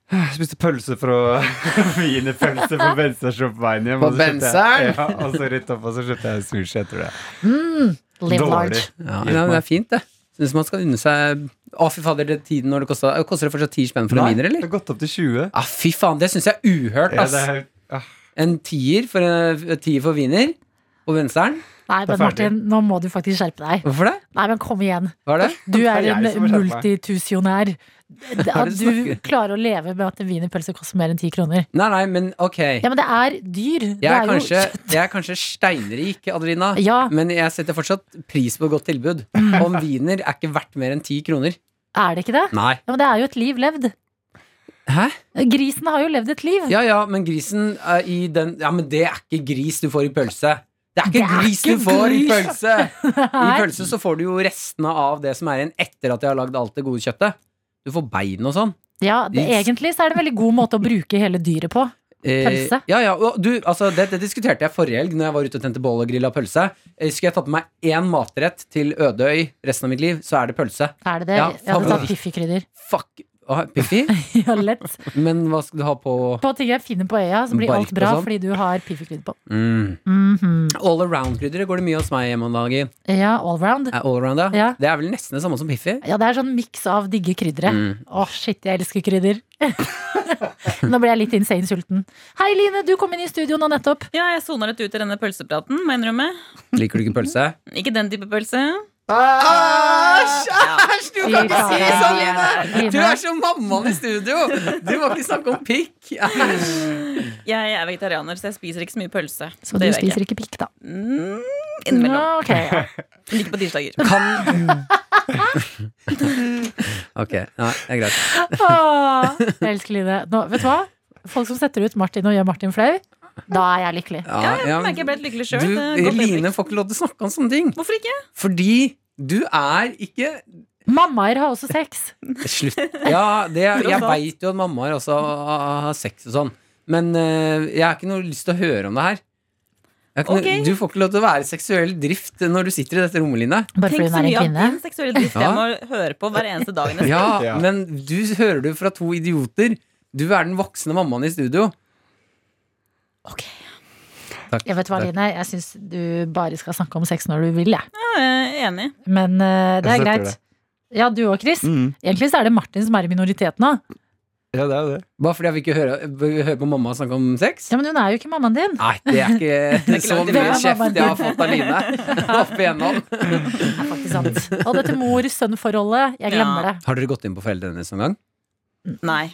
S5: Jeg spiste pølse fra Wienerpølse på bensinstasjonen på veien hjem.
S4: På
S5: og så kjøpte jeg-
S4: benseren?
S5: Ja, og så rett opp, og så kjøpte jeg sushi etter det.
S2: Live large.
S4: Ja, nei, men det er fint, det. Syns man skal unne seg Å, fy fader, det tiden når det kosta Koster det fortsatt ti spenn for en
S5: Nei,
S4: wiener,
S5: Det
S4: eller?
S5: har gått opp til 20.
S4: Ja, fy faen, det syns jeg er uhørt,
S5: Ja, det
S4: ass.
S5: er ah, helt
S4: En tier for, en tier for wiener. Og venseren.
S2: Nei,
S5: Det er
S2: men Martin, nå må du faktisk skjerpe deg.
S4: Hvorfor det?
S2: Nei, men kom igjen.
S4: Hva er det?
S2: Du er
S5: Det er
S2: en
S5: jeg som har skjerpet meg.
S2: multitusionær.
S4: er
S2: At
S4: det du
S2: du
S4: snakker?
S2: klarer å leve med at en wienerpølse koster mer enn ti kroner.
S4: Nei, nei, men ok.
S2: Ja, men det er dyr. Det
S4: Jeg er,
S2: er jo-
S4: kanskje, jeg er kanskje steinrik, Adelina,
S2: Ja.
S4: men jeg setter fortsatt pris på godt tilbud. Om wiener er ikke verdt mer enn ti kroner.
S2: Er det ikke det?
S4: Nei.
S2: Ja, men det er jo et liv levd.
S4: Hæ?
S2: Grisen har jo levd et liv.
S4: Ja ja, men grisen er i den Ja, men det er ikke gris du får i pølse. Det er ikke
S2: Det er
S4: gris
S2: ikke
S4: du får i
S2: gris.
S4: pølse! I
S2: Nei.
S4: pølse så får du jo restene av det som er igjen etter at jeg har lagd alt det gode kjøttet. Du får bein og sånn.
S2: Ja, det, egentlig så er det en veldig god måte å bruke hele dyret på.
S4: Eh,
S2: Pølse?
S4: ja, ja, og du, altså, det, det diskuterte jeg forrige helg Når jeg var ute og tente bål og grilla pølse. Eh, Skulle jeg tatt med meg én matrett til Ødøy resten av mitt liv, så er det pølse.
S2: Er det det?
S4: Ja,
S2: jeg hadde
S4: favoritt.
S2: tatt Piffi-krydder.
S4: Fuck. Ah, Piffi?
S2: Ja, lett.
S4: Men hva skal du ha på
S2: På ting jeg finner på øya, så blir alt
S4: Bark og
S2: bra
S4: sånn.
S2: fordi du har Piffi-krydder på.
S4: mm.
S2: Mhm.
S4: All around-krydderet går det mye hos meg hjemme om dagen.
S2: Ja, all round.
S4: Er all around, ja.
S2: Ja.
S4: Det er vel nesten det samme som Piffi?
S2: Ja, det er sånn miks av digge kryddere. Å, shit, jeg elsker krydder. Nå ble jeg litt insane sulten. Hei, Line, du kom inn i studio nå nettopp.
S3: Ja, jeg sona litt ut i denne pølsepraten, må jeg innrømme.
S4: Liker du ikke pølse?
S3: Ikke den type pølse.
S4: Æsj! Du
S2: kan ikke si sånn, Line. Du er
S4: som mammaen i studio! Du må ikke snakke om pikk!
S3: Jeg er vegetarianer, så jeg spiser ikke så mye pølse.
S2: Så du
S3: det gjør jeg
S2: spiser ikke pikk, da.
S3: ikke. Mm, Innimellom.
S2: Ja, ok, ja.
S3: Ikke på tirsdager.
S4: Ok, ja, det er greit.
S2: Åh, jeg elsker Line. Nå, vet du hva? Folk som setter ut Martin og gjør Martin flau, da er jeg lykkelig.
S4: Ja,
S3: Ja, jeg
S4: ja,
S3: merker jeg ble litt eh, lykkelig sjøl.
S4: du, Line får ikke lov til å snakke om sånne ting.
S3: Hvorfor ikke?
S4: Fordi du er ikke
S2: Mammaer har også sex.
S4: Slutt. Ja, det, jeg
S3: Tross alt.
S4: veit jo at mammaer også har sex og sånn. Men eh, jeg har ikke noe lyst til å høre om det her. Jeg har ikke
S3: Ok.
S4: noe, du får ikke lov til å være seksuell drift når du sitter i dette rommet, Line.
S2: Bare
S3: Tenk
S2: fordi hun er
S3: så mye
S2: en
S3: av
S2: kvinne.
S3: din seksuelle drift jeg
S4: Ja.
S3: må høre på hver eneste dag. nesten.
S4: Ja,
S5: Ja.
S4: men du hører du fra to idioter. Du er den voksne mammaen i studio.
S3: Ok.
S4: Takk.
S2: Jeg vet hva,
S4: Takk.
S2: Line, jeg syns du bare skal snakke om sex når du vil, jeg.
S3: Ja, jeg er enig.
S2: Men eh, det er
S5: Jeg støtter
S2: greit.
S5: det.
S2: Ja, du òg, Chris. Egentlig så er det Martin som er i minoriteten nå.
S5: Ja, det er jo det.
S4: Bare fordi jeg vil ikke høre, vil høre på mamma snakke om sex?
S2: Ja, men hun er jo ikke mammaen din.
S4: Nei, det er ikke så
S3: langt
S4: mye
S2: unna.
S4: kjeft jeg har fått av Line opp igjennom.
S2: Det er faktisk sant. Og dette mor-sønn-forholdet, jeg glemmer
S3: Ja.
S2: det.
S4: Har dere gått inn på foreldrene deres noen gang?
S3: Nei.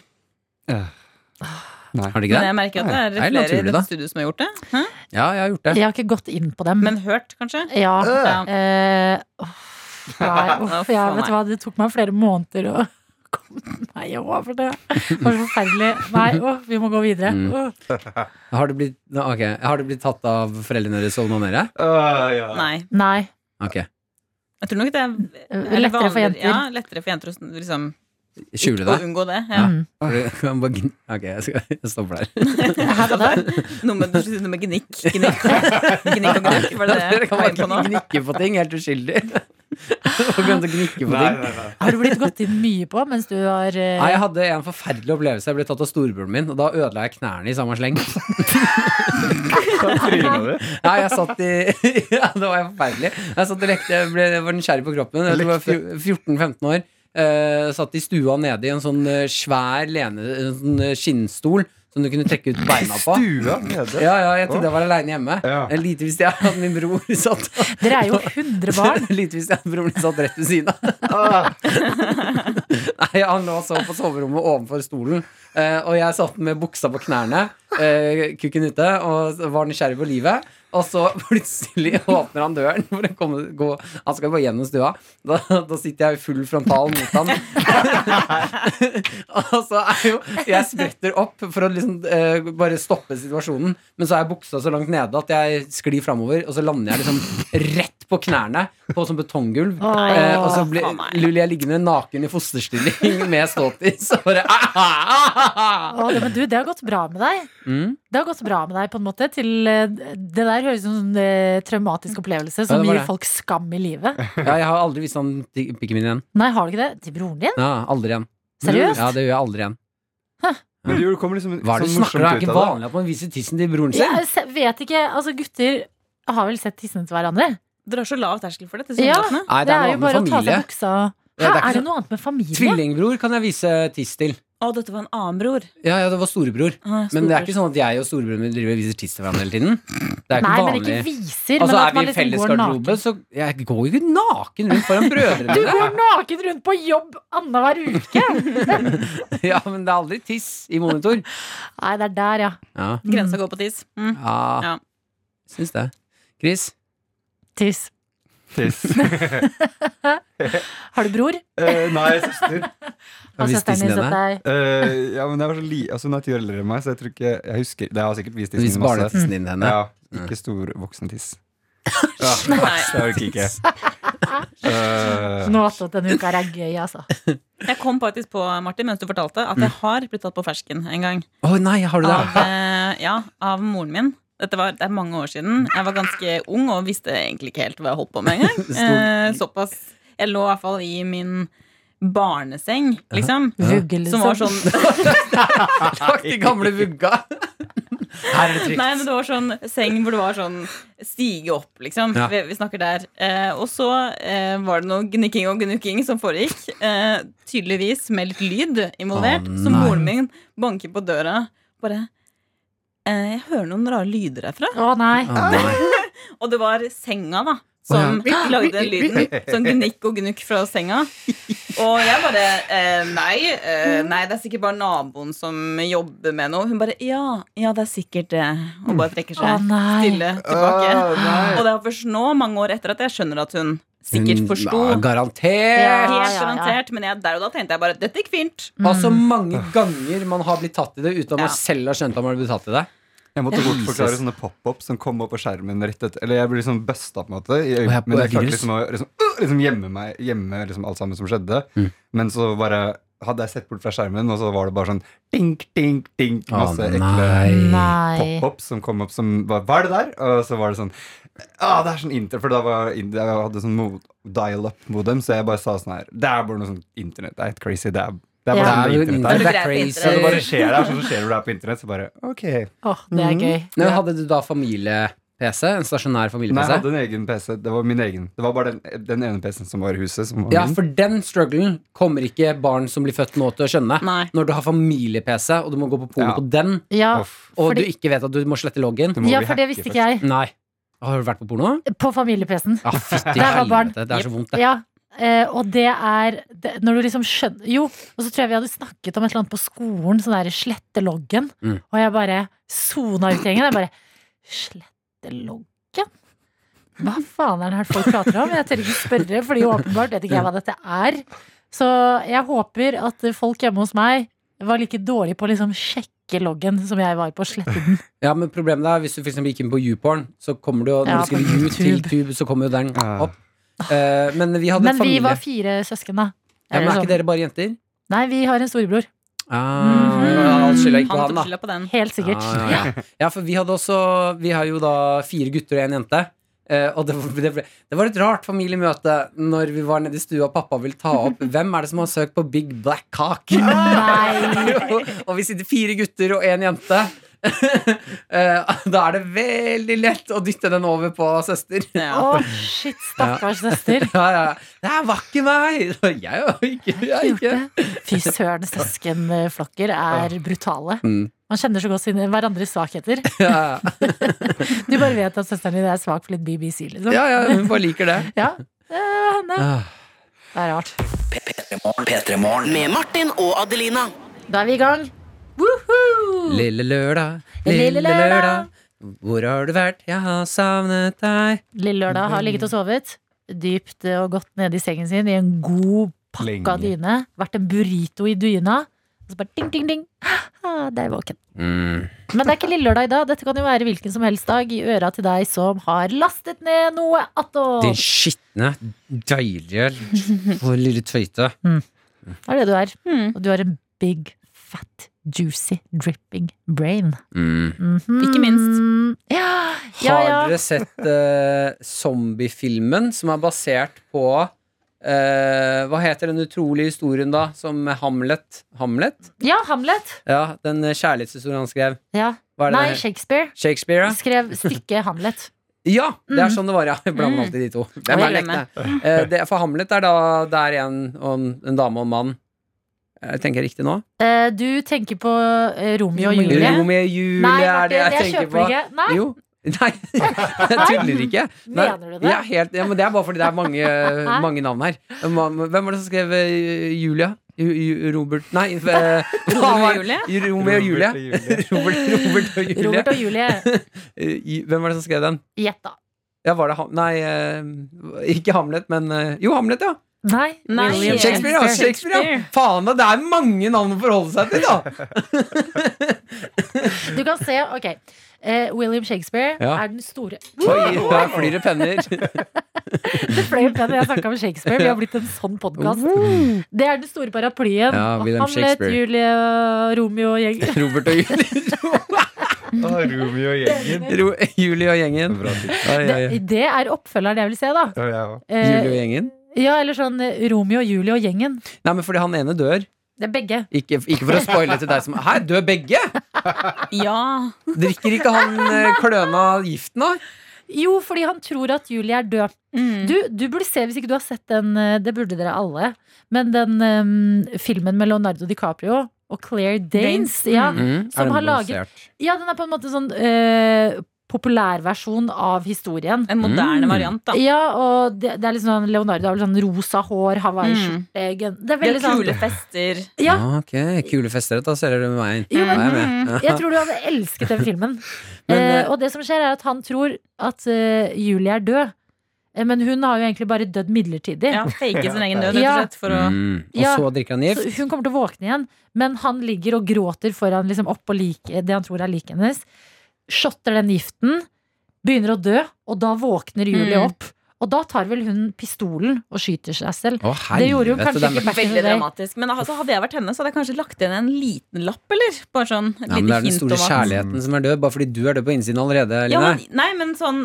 S4: Har dere ikke
S3: Men
S4: det?
S3: jeg merker at det
S4: Nei,
S3: er
S4: det er
S3: flere i
S4: naturlig, da.
S3: dette studioet som har gjort det. Hæ?
S4: Ja, jeg har gjort det.
S2: Jeg har ikke gått inn på dem.
S3: Men hørt, kanskje?
S2: ja.
S3: Ja.
S2: Eh, uff, nei, uff, jeg, vet du hva, det tok meg flere måneder å komme meg over det. Det var så forferdelig. Nei, åh, vi må gå videre.
S4: Mm.
S2: Åh.
S4: Har det blitt, Nå, ok. har det blitt tatt av foreldrene deres og onanere?
S5: Øh, ja.
S3: Nei.
S2: Nei. eh,
S4: Ok.
S3: Jeg tror nok det er er det
S2: Lettere for
S3: vanligere-
S2: jenter.
S3: Ja, lettere for jenter å sn- liksom,
S4: Skjule
S3: å
S4: det?
S3: unngå det. Ja.
S2: Mm.
S4: For du kan bare gn- Ok, jeg, skal, jeg stopper der.
S2: Her var det.
S3: Noe med, du skulle si noe med gnikk. Gnikk, gnikk og gnikk, var det det
S4: Dere
S3: jeg
S4: kan
S3: var inne på
S4: bare
S3: nå?
S4: gnikke på ting, helt uskyldig. Og begynte å gnikke på
S5: Nei,
S4: ting.
S5: nei, nei.
S2: Har du blitt gått inn mye på mens du har eh,
S4: Nei, Jeg hadde en forferdelig opplevelse. Jeg ble tatt av storebroren min, og da ødela jeg knærne i samme sleng.
S5: Da tryna du.
S4: Ja, jeg satt i Ja, det var forferdelig. Jeg satt og lekte, jeg ble, jeg var nysgjerrig på kroppen. Jeg var fjo- 14-15 år. eh, satt i stua nede i en sånn eh, svær lene, en sånn eh, skinnstol som du kunne trekke ut beina på.
S5: Stua nede.
S4: Ja, ja, jeg trodde jeg var aleine hjemme.
S5: Ja.
S4: Eh, Lite visste jeg at min bror satt
S2: Dere er jo 100 barn.
S4: Lite visste jeg at broren min satt rett ved siden av.
S5: Ah,
S4: Nei, Han lå og sov på soverommet ovenfor stolen. eh, og jeg satt med buksa på knærne, eh, kukken ute, og var nysgjerrig på livet. Og så plutselig åpner han døren. For å komme, gå, han skal gå gjennom stua. Da, da sitter jeg i full frontal mot han. og så er jo Jeg spretter opp for å liksom eh, bare stoppe situasjonen. Men så er buksa så langt nede at jeg sklir framover, og så lander jeg liksom rett på knærne på sånn betonggulv.
S2: Nei.
S4: Eh, og så ble,
S3: Å, nei.
S4: luller jeg liggende naken i fosterstilling med ståtiss. Og bare ah, ah, ah, ah.
S2: Åh, det- men du, det har gått bra med deg.
S4: Mm.
S2: Det har gått bra med deg på en måte til eh, Det der høres ut som en eh, traumatisk opplevelse som
S4: Mm. det var
S2: gir
S4: det.
S2: folk skam i livet.
S4: Ja, jeg har aldri vist han tik- pikken min igjen.
S2: Nei, har du ikke det? Til broren din?
S4: Ja, aldri igjen.
S2: Seriøst?
S4: Ja, det gjør jeg aldri igjen.
S5: Men det gjorde- det kommer liksom
S4: Hva er det du
S5: sånn
S4: snakker om? Det
S5: morsomt
S4: er
S5: ut
S4: ikke
S5: av det.
S4: vanlig at man viser tissen til broren sin.
S2: Jeg se- vet ikke. Altså, gutter har vel sett tissene til hverandre?
S3: Dere har så lav terskel for det.
S2: Ja,
S3: tilsynelatende.
S4: Nei,
S2: det er
S4: noe
S2: jo
S4: annet med
S2: bare å ta
S4: familie.
S2: seg buksa
S4: Ja,
S2: Hæ,
S4: det er ikke
S2: er det
S4: så-
S2: noe annet med familie?
S4: Tvillingbror kan jeg vise tiss til.
S3: Å, dette var en annen bror.
S4: Ja, ja, det var storebror.
S3: Ah,
S4: Men det er ikke sånn at jeg og storebroren min driver og viser tiss til hverandre hele tiden. Det er ikke
S2: Nei, men
S4: vanlig.
S2: ikke viser. men
S4: altså,
S2: at
S4: er vi
S2: man
S4: i
S2: liksom
S4: felles
S2: går
S4: garderobe,
S2: naken.
S4: så jeg går jo ikke naken rundt foran brødrene
S2: Du
S4: mine.
S2: går naken rundt på jobb annenhver uke!
S4: Ja, men det er aldri tiss i monitor.
S2: Nei, det er der, ja.
S4: Ja,
S3: Grensa går på tiss. Mm.
S4: ja,
S3: Ja.
S4: syns det. Chris?
S2: Tiss.
S5: Tiss.
S2: Har du bror?
S5: Eh, nei, søster.
S2: Har
S4: vist
S2: søsteren din
S4: tissen
S2: sett deg?
S5: Eh, ja, men jeg var så li altså, hun er ti år eldre enn meg, så jeg tror ikke Jeg husker Det har sikkert vist
S4: Vis
S5: tissen min masse.
S4: barnetissen din til henne.
S5: Ja, ikke stor voksen tiss. Ja,
S3: Nei.
S5: jeg orker ikke. Eh,
S2: Nå at denne uka her er gøy, altså.
S3: Jeg kom faktisk på, Martin, mens du fortalte, at
S4: Mm.
S3: jeg har blitt tatt på fersken en gang.
S4: Å nei, har du det?
S3: Av, eh, ja, av moren min. Dette var, det er mange år siden. Jeg var ganske ung og visste egentlig ikke helt hva jeg holdt på med engang. Eh, såpass. Jeg lå i hvert fall i min barneseng, liksom.
S2: Vugge,
S3: Som var
S2: liksom.
S3: sånn
S5: Ah,
S4: Takk, de gamle vugga. Her er det trygt.
S3: Nei, men det var sånn seng hvor det var sånn stige opp, liksom.
S4: Ja.
S3: Vi, vi snakker der. Eh, og så eh, var det noe gnikking og gnukking som foregikk. Eh, tydeligvis med litt lyd involvert.
S4: Å,
S3: så
S4: nei.
S3: moren min banker på døra bare eh, Jeg hører noen rare lyder herfra.
S2: Å nei.
S4: Å,
S2: Ah,
S4: nei.
S3: Og det var senga, da. Som lagde den lyden. Sånn gnikk og gnukk fra senga. Og jeg bare eh, nei, eh, nei, det er sikkert bare naboen som jobber med noe. Hun bare ja, ja, det er sikkert det. Og bare trekker
S2: Å,
S3: seg
S2: nei.
S3: stille tilbake.
S5: ah, nei.
S3: Og det er først nå, mange år etter, at jeg skjønner at hun sikkert
S4: Hun-
S3: forsto.
S4: Ja, garantert.
S2: Ja, ja,
S3: Helt
S2: ja.
S3: garantert. Men jeg, der og da tenkte jeg bare dette gikk fint.
S2: Mm.
S4: Altså mange ganger man har blitt tatt i det uten at man
S3: Ja.
S4: selv har skjønt at man har blitt tatt i det.
S5: Jeg måtte bortforklare
S4: Jesus.
S5: sånne pop-up som kom opp på skjermen rett etter. Eller jeg ble liksom busta på en måte. I
S4: Og her
S5: øyeblikket, men jeg
S4: på
S5: klarte
S4: virus.
S5: liksom å liksom, øh, liksom gjemme meg Gjemme liksom alt sammen som skjedde.
S4: Mm.
S5: Men så bare hadde jeg sett bort fra skjermen, og så var det bare sånn dink, dink, dink. Masse ekle
S2: Nei.
S5: pop-up som kom opp som var, Hva er det der? Og så var det sånn Ah, det er sånn inter... For da var in- jeg hadde sånn mo- dial-up-modem, så jeg bare sa sånn her Det er bare noe sånn internett. Det er helt crazy. Det er, det er bare
S2: Ja.
S5: sånn det internett
S3: Det
S5: er.
S3: er
S5: Ja, det bare skjer der, sånn skjer det når du er på internett. Så bare ok.
S2: Åh, det
S5: Mm.
S2: er gøy.
S4: Men hadde du da familie-PC? En stasjonær
S5: Nei, jeg
S4: familie-PC?
S5: hadde en egen PC. Det var min egen. Det var bare den, den ene PC-en som var i huset. Som var
S4: Ja,
S5: min.
S4: for den strugglen kommer ikke barn som blir født nå til å skjønne.
S3: Nei.
S4: Når du har familie-PC, og du må gå på polet
S5: Ja.
S4: på den,
S2: Ja,
S5: Uff,
S4: og
S2: Fordi-
S4: du ikke vet at du må slette loggen
S5: det må
S2: ja
S5: vi
S2: for det
S5: hacke
S2: visste
S5: først.
S2: ikke jeg.
S4: Nei. Har du vært på porno?
S2: På familie-PC-en.
S4: Ja, fytti
S2: Der var barn.
S4: helvete. Det er så vondt, det.
S2: Ja. eh, og det er det, Når du liksom skjønner Jo, og så tror jeg vi hadde snakket om et eller annet på skolen, sånn der slette loggen.
S4: Mm.
S2: Og jeg bare sona ut gjengen. Jeg bare Slette loggen? Hva faen er det her folk prater om? Jeg tør ikke spørre, fordi åpenbart vet ikke jeg hva dette er. Så jeg håper at folk hjemme hos meg var like dårlige på å liksom sjekke loggen som jeg var på å slette den.
S4: Ja, men problemet er Hvis du for eksempel gikk inn på YouPorn, så kommer du jo
S2: Ja,
S4: når du
S2: på
S4: skriver U til
S2: YouTube.
S4: Tube, så kommer jo den
S5: Ja.
S4: opp. Eh, men vi hadde
S2: Men vi
S4: familie.
S2: var fire søsken, da.
S4: ja, men
S2: Eller
S4: er ikke
S2: sånn.
S4: dere bare jenter?
S2: Nei, vi har en storebror.
S4: Ah,
S2: Mhm.
S4: All skylda gikk på
S3: Mm, Han
S4: han, da.
S3: tok skylda på den.
S2: Helt sikkert.
S4: Ah, ja, ja. ja, for vi hadde også Vi har jo da fire gutter og en jente. Eh, og det, det, ble, det var et rart familiemøte når vi var nede i stua og pappa ville ta opp hvem er det som har søkt på Big Black Cock.
S2: Nei.
S4: og, og vi sitter fire gutter og én jente. Eh, da er det veldig lett å dytte den over på søster.
S3: Ja.
S2: Å, shit, stakkars søster.
S4: Ja, ja. Det var ikke meg! Jeg har ikke, jeg har ikke.
S2: Gjort det. Fy søren, søskenflokker er brutale.
S4: Mm.
S2: Man kjenner så godt sine hverandres svakheter.
S4: Ja,
S2: Du bare vet at søsteren din er svak for litt BBC, liksom.
S4: ja, ja, hun bare liker det.
S2: Ja, det er henne.
S4: Ah.
S2: Det er rart.
S8: Med Martin og Adelina.
S2: Da er vi i gang. Woohoo!
S4: Lille lørdag,
S2: Mm. Lille
S4: lille lørdag. Hvor har du vært? Jeg har savnet deg.
S2: Lille Lørdag har ligget og sovet dypt eh, og godt nede i sengen sin i en god pakka
S5: Lenge.
S2: dyne. Vært en burrito i dyna. Og så bare ding, ding, ding. Ah, det er jeg våken.
S4: Mm.
S2: Men det er ikke lille lørdag i dag. Dette kan jo være hvilken som helst dag i øra til deg som har lastet ned noe attåt.
S4: Din skitne, deilige for lille tøyte.
S2: Det er det du er.
S3: Mm.
S2: Og du har en big, fat, juicy, dripping brain. Mhm.
S3: Ikke minst.
S2: Ja, ja,
S4: Mm. Har
S2: ja.
S4: dere sett eh, zombiefilmen som er basert på eh, Hva heter den utrolige historien, da? Som med Hamlet? Hamlet?
S2: ja Hamlet.
S4: Ja, den eh, kjærlighetshistorien han skrev.
S2: Ja.
S4: Hva er det?
S2: Nei,
S4: den-
S2: Shakespeare
S4: Shakespeare, ja?
S2: skrev stykket Hamlet.
S4: Ja, det er
S2: Mhm.
S4: sånn det var, ja. Jeg blander
S3: Mm.
S4: alltid de to. Det
S3: Og
S4: er
S3: jeg
S4: meg
S3: glemmer.
S4: lekne. Eh, det, for Hamlet er da det er en, og en, en dame og en mann. Eh, tenker jeg riktig nå?
S2: Eh, Du tenker på eh, Romeo og Julie.
S4: Romeo og Julie
S2: Nei,
S4: er
S2: Martin,
S4: det jeg
S2: jeg
S4: tenker
S2: kjøper
S4: på.
S2: ikke. Nei,
S4: Jo. Nei, jeg tuller ikke. Nei,
S2: Mener du det?
S4: jeg er helt, ja, men det er bare fordi det er mange, mange navn her. Hvem var det som skrev eh, Julia? Ju, Ju- Robert Nei, eh,
S3: Romeo og Julie?
S4: Romeo og Julie. Robert, Robert og Julie.
S2: Robert og Julie.
S4: Eh, Ju- Hvem var det som skrev den?
S2: Gjett, da.
S4: Ja, var det Ham... Nei, eh, ikke Hamlet, men eh, Jo, Hamlet, ja.
S2: Nei.
S3: Nei.
S2: William
S4: Shakespeare, ja. Shakespeare, ja.
S3: Shakespeare.
S4: Faen, da, det er mange navn å forholde seg til, da!
S2: Du kan se, ok. eh, William Shakespeare
S4: Ja.
S2: er den store
S4: Oi, der flyr det penner.
S2: Det fløy opp igjen når jeg snakket om Shakespeare. Vi har blitt en sånn podkast. Det er den store paraplyen.
S4: Uh. Ja,
S2: Og
S4: William
S2: Hamlet,
S4: Shakespeare.
S2: Julie, Romeo og gjengen.
S4: Robert og Julie.
S5: Å, Romeo og gjengen.
S4: Ro Julie og gjengen.
S5: Bra tid.
S4: Oi, oi, oi.
S2: Det, det er oppfølgeren jeg vil se, da.
S5: Ja, jeg også.
S2: Eh,
S4: Julie og gjengen?
S2: ja, eller sånn eh, Romeo, Julie og gjengen.
S4: Nei, men fordi han ene dør.
S2: Det er begge.
S4: Ikke, ikke for å spoile til deg som Her dør begge!
S3: Ja.
S4: Drikker ikke han eh, kløna giften, da?
S2: Jo, fordi han tror at Julie er død.
S3: Mm.
S2: Du, du burde se, hvis ikke du har sett den eh, Det burde dere alle Men den eh, filmen med Leonardo DiCaprio Og Claire Danes,
S3: Danes,
S2: ja,
S3: mm.
S2: Som har laget- ja, den er på en måte sånn eh, Populærversjon av historien
S3: En moderne
S4: Mm.
S3: variant, da.
S2: Ja, og det, det er liksom sånn Leonardo har vel sånn rosa hår,
S3: Mm.
S2: Hawaii-skjorte gen- Det er
S3: Det er
S2: veldig sånn
S3: kule fester.
S2: Ja.
S4: Ah, Ok, kule fester. Da ser dere meg.
S2: Jo, men- Mm.
S4: Da er jeg med. Ja.
S2: Jeg tror du hadde elsket den filmen.
S4: Men,
S2: eh,
S4: eh,
S2: og det som skjer, er at han tror at eh, Julie er død. Eh, Men hun har jo egentlig bare dødd midlertidig.
S3: Ja, Fake sin egen død, rett
S2: Ja.
S3: og slett. For å
S4: Mm. Og
S2: Ja.
S4: så drikker han gift.
S2: Så hun kommer til å våkne igjen, men han ligger og gråter foran liksom, oppå like, det han tror er liket hennes. shotter den giften, begynner å dø, og da våkner Julie
S3: Mm.
S2: opp. Og da tar vel hun pistolen og skyter seg selv.
S4: Å,
S2: Det gjorde jo
S4: helvete,
S2: kanskje
S4: den-
S2: ikke back in the
S3: Veldig
S2: day.
S3: dramatisk. Men altså, hadde jeg vært henne, så hadde jeg kanskje lagt igjen en liten lapp, eller? Bare sånn et
S4: Ja, men det
S3: lite
S4: er den
S3: hint
S4: store
S3: om at
S4: kjærligheten som er død, bare fordi du er død på innsiden allerede,
S3: ja,
S4: Line.
S3: men, Nei, men sånn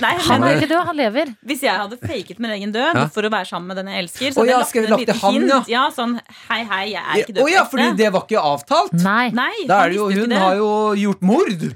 S3: nei,
S2: Han
S3: men, eh,
S2: er ikke død, han lever.
S3: Hvis jeg hadde faket min egen død
S4: Ja.
S3: for å være sammen med den jeg elsker,
S4: Å
S3: så hadde
S4: ja,
S3: jeg
S4: skulle
S3: lagt
S4: lagt
S3: inn et
S4: til han,
S3: lite
S4: ja.
S3: hint. Ja, sånn hei, hei, jeg er ikke
S4: Å ja, fordi
S3: dødfrelst.
S4: det var ikke avtalt!
S2: Nei.
S3: Nei,
S4: Da
S3: jeg
S4: er det jo,
S3: visste
S4: hun
S3: ikke det.
S4: har jo gjort mord!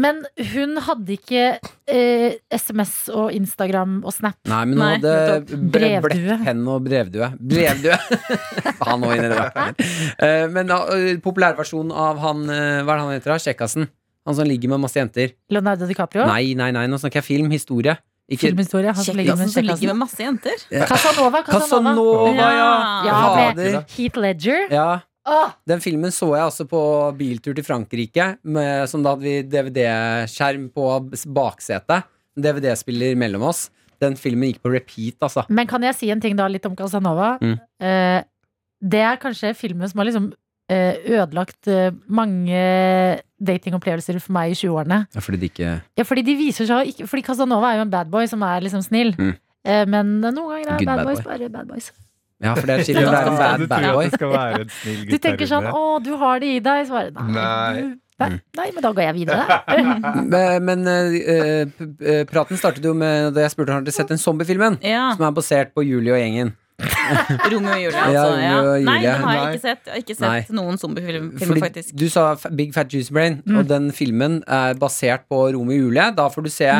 S2: Men hun hadde ikke eh, SMS og Instagram og Snap.
S4: Nei, men hun
S3: Nei,
S4: hadde bre
S2: Brevdue.
S4: blekkpenn og brevdue. Brevdue! han òg inni det der. Eh, Men uh, populærversjonen av han eh, Hva er det han heter? da? Kjekkasen? Han som ligger med masse jenter.
S2: Leonardo DiCaprio.
S4: Nei, nei, nei, nå snakker jeg film. Historie. Ikke
S2: Filmhistorie. Han som ligger med
S3: Kjekkasen som ligger
S2: kjekkasen.
S3: med masse jenter.
S2: Casanova. Casanova.
S4: Casanova, ja!
S2: Ja,
S4: Fader.
S2: med Heath Ledger.
S4: ja.
S2: Åh,
S4: Den filmen så jeg også på biltur til Frankrike, med, som da hadde vi DVD-skjerm på s- baksetet. DVD-spiller mellom oss. Den filmen gikk på repeat, altså.
S2: Men kan jeg si en ting da litt om Casanova?
S4: Mm.
S2: Eh, det er kanskje filmen som har liksom eh, ødelagt eh, mange datingopplevelser for meg i 20-årene.
S4: Ja, fordi det ikke
S2: Ja, fordi de viser seg å ikke Fordi Casanova er jo en bad boy som er liksom snill.
S4: Mm.
S2: Eh, men noen ganger er
S4: Good
S2: bad
S4: bad
S2: boys
S4: boy.
S2: bare bad boys.
S4: Ja, for det er chill å være en bad,
S5: du
S4: bad
S5: tror
S4: boy.
S5: at det skal være en snill gutt
S2: Du tenker sånn
S5: der
S2: 'Å, du har det i deg'. Så bare nei.
S5: Nei.
S2: du- Nei,
S4: Mm.
S2: nei, men da går jeg videre.
S4: Men, men eh, p- p- praten startet jo med da jeg spurte om han hadde sett den zombiefilmen.
S3: Ja.
S4: Som er basert på Julie og gjengen.
S3: Romeo og Julie,
S4: Ja,
S3: altså. Ja,
S4: Romeo og
S3: Nei,
S4: Julie.
S3: den har jeg
S5: Nei.
S3: ikke sett. Jeg har ikke
S4: Nei.
S3: sett noen zombiefilmer,
S4: Fordi
S3: faktisk.
S4: du sa F- Big Fat Juice Brain, og den filmen er basert på Romeo og Julie. Da får du se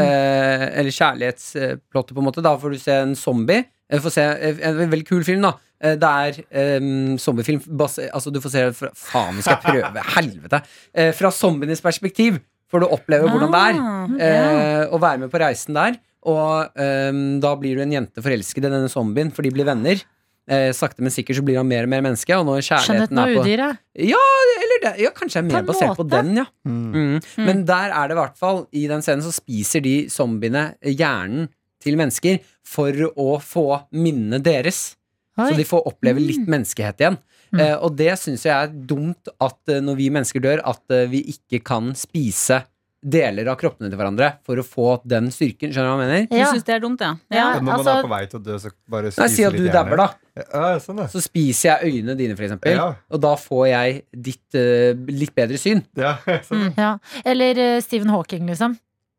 S4: eh, Eller kjærlighetsplottet, på en måte. Da får du se en zombie. Eh, Får se, eh, en veldig kul film, da. Eh, Det er eh, zombiefilm bas- Altså, du får se det fra Faen, skal jeg prøve? Helvete! Eh, fra zombienes perspektiv får du oppleve hvordan det er.
S6: Ah,
S4: Eh, og være med på reisen der. Og ehm, da blir du en jente forelsket i denne zombien, for de blir venner. Eh, sakte, men sikkert så blir han mer og mer menneske. Og når
S2: Skjønnhet
S4: kjærligheten
S2: og
S4: er på
S2: udyret.
S4: ja, eller det, ja, kanskje er
S2: På
S4: mer
S2: en
S4: basert på
S2: måte.
S4: den, ja. Mm. Men der er det i hvert fall I den scenen så spiser de zombiene eh, hjernen til mennesker for å få minnene deres. Så de
S2: Oi.
S4: får oppleve litt menneskehet igjen.
S2: Mm.
S4: Eh, og det syns jeg er dumt at eh, når vi mennesker dør, at eh, vi ikke kan spise deler av kroppene til hverandre for å få den styrken. Skjønner du hva jeg mener?
S3: Du
S2: Ja.
S3: syns det er dumt, ja?
S2: Ja.
S5: Og Når man
S2: altså-
S5: er på vei til å dø, så bare
S4: Nei, Si
S5: spiser
S4: at du
S5: litt
S4: dabber, da.
S5: Ja, sånn da.
S4: Så spiser jeg øynene dine, for eksempel.
S5: Ja.
S4: Og da får jeg ditt eh, litt bedre syn.
S5: Ja,
S4: Mm.
S5: sånn.
S2: Ja. Eller eh, Stephen Hawking, liksom.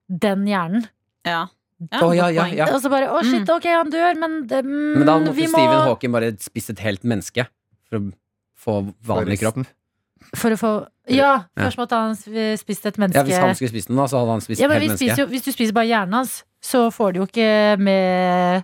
S2: Den hjernen.
S3: ja. ja,
S4: Å, ja,
S3: godt
S4: ja,
S3: poeng.
S4: ja. Mm.
S2: Og så bare 'Å, shit, ok, han dør, men det, mm,
S4: Men da måtte
S2: vi må
S4: Stephen Hawking bare spist et helt menneske for å få vanlig kropp.
S5: Forresten.
S2: For å få Ja, først måtte han eh, spist et menneske.
S4: Ja, Hvis han skulle spist den, da, så hadde han spist
S2: Ja,
S4: et
S2: men
S4: helt
S2: vi
S4: menneske.
S2: spiser jo, Hvis du spiser bare hjernen hans, så får du jo ikke med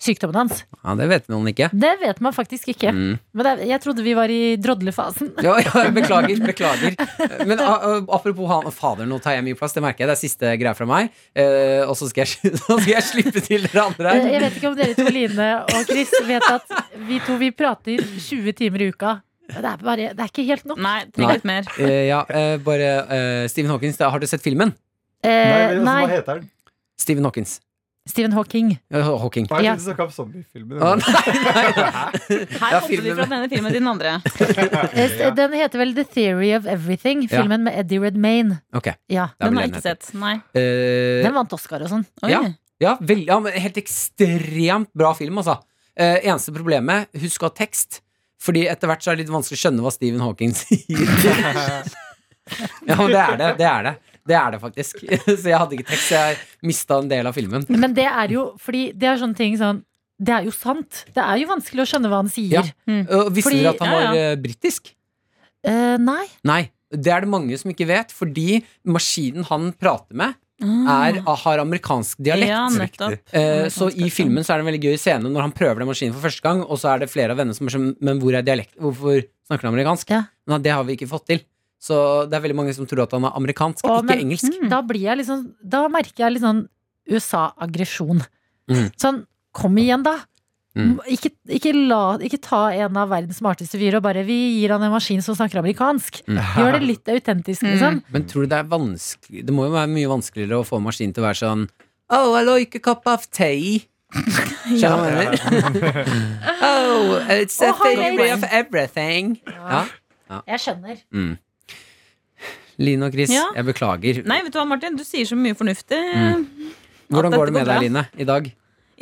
S2: sykdommen hans.
S4: Ja, Det vet noen ikke.
S2: Det vet man faktisk ikke.
S4: Mm.
S2: Men det, er- jeg trodde vi var i drodlefasen.
S4: Ja, ja, beklager, beklager. Men a- a- apropos han Fader, nå tar jeg mye plass, det merker jeg. Det er siste greia fra meg. Eh, og så skal, jeg, så skal jeg slippe til dere andre
S2: Eh, Jeg
S4: her.
S2: vet ikke om dere to, Line og Chris, vet at vi to vi prater 20 timer i uka. Det er, bare, det er ikke helt nok.
S3: Nei, trenger litt mer.
S4: Eh, ja, eh, bare eh, Stephen Hawkins, da, har du sett filmen?
S5: Nei,
S2: Eh,
S5: men altså, hva
S2: nei,
S5: heter den?
S4: Stephen Hawkins.
S2: Stephen Hawking.
S4: Ja, Hawking.
S5: Hva er
S2: Ja.
S5: det du snakket om zombiefilmen?
S4: Å, nei,
S3: Her
S4: Ja,
S3: kom vi
S4: filmen.
S3: fra den ene filmen til den andre.
S2: Eh, Den heter vel The Theory of Everything,
S4: Ja.
S2: filmen med Eddie Redmayne.
S4: Ok,
S2: Ja,
S4: da
S3: Den
S4: vil
S3: har jeg
S4: den
S3: ikke
S4: hete.
S3: sett. Nei.
S4: Eh,
S2: Den vant Oscar og sånn.
S3: Oi.
S4: Ja. Ja, vel, ja men helt ekstremt bra film, altså. Eh, eneste problemet, husk å ha tekst. Fordi etter hvert så er det litt vanskelig å skjønne hva Stephen Hawking sier. ja, men det er det. Det er det. Det er det faktisk. så jeg hadde ikke tekst, så jeg mista en del av filmen.
S2: Men det er jo fordi det er sånne ting sånn Det er jo sant. Det er jo vanskelig å skjønne hva han sier.
S4: Ja. Og visste
S2: Fordi-
S4: dere at han
S3: ja,
S4: var
S3: ja.
S4: eh, britisk?
S2: Eh, nei.
S4: Nei. Det er det mange som ikke vet, fordi maskinen han prater med, er, har amerikansk dialekt.
S3: Ah. Ja, nettopp.
S4: Eh, så
S3: Amerikansk
S4: i
S3: dialekt.
S4: filmen så er det en veldig gøy scene når han prøver den maskinen for første gang, og så er det flere av vennene som er sånn Men hvor er dialekt? Hvorfor snakker han amerikansk?
S2: Ja.
S4: Nei, det har vi ikke fått til. Så det er veldig mange som tror at han er amerikansk,
S2: Å,
S4: ikke
S2: men-
S3: mm.
S4: engelsk.
S2: Da blir jeg liksom Da merker jeg litt sånn USA-aggresjon.
S4: Mm.
S2: Sånn, kom igjen, da!
S4: Mm.
S2: M- Ikke, ikke, la, ikke ta en av verdens smarteste fyrer og bare 'vi gir han en maskin som snakker amerikansk'.
S4: Mm.
S2: Gjør det litt autentisk, liksom.
S4: Men tror du det er vanskelig Det må jo være mye vanskeligere å få en maskin til å være sånn Oh, I like a cup of tea. Skjønner du hva jeg mener? oh, it's a
S2: Og han
S4: theory
S2: er-
S4: of everything. Ja.
S2: Jeg skjønner.
S4: Line og Chris,
S3: Ja.
S4: jeg beklager.
S3: Nei, vet du hva, Martin? Du sier så mye fornuftig.
S4: Mm. Hvordan
S3: at
S4: går
S3: dette
S4: det med
S3: går bra.
S4: deg, Line, i dag?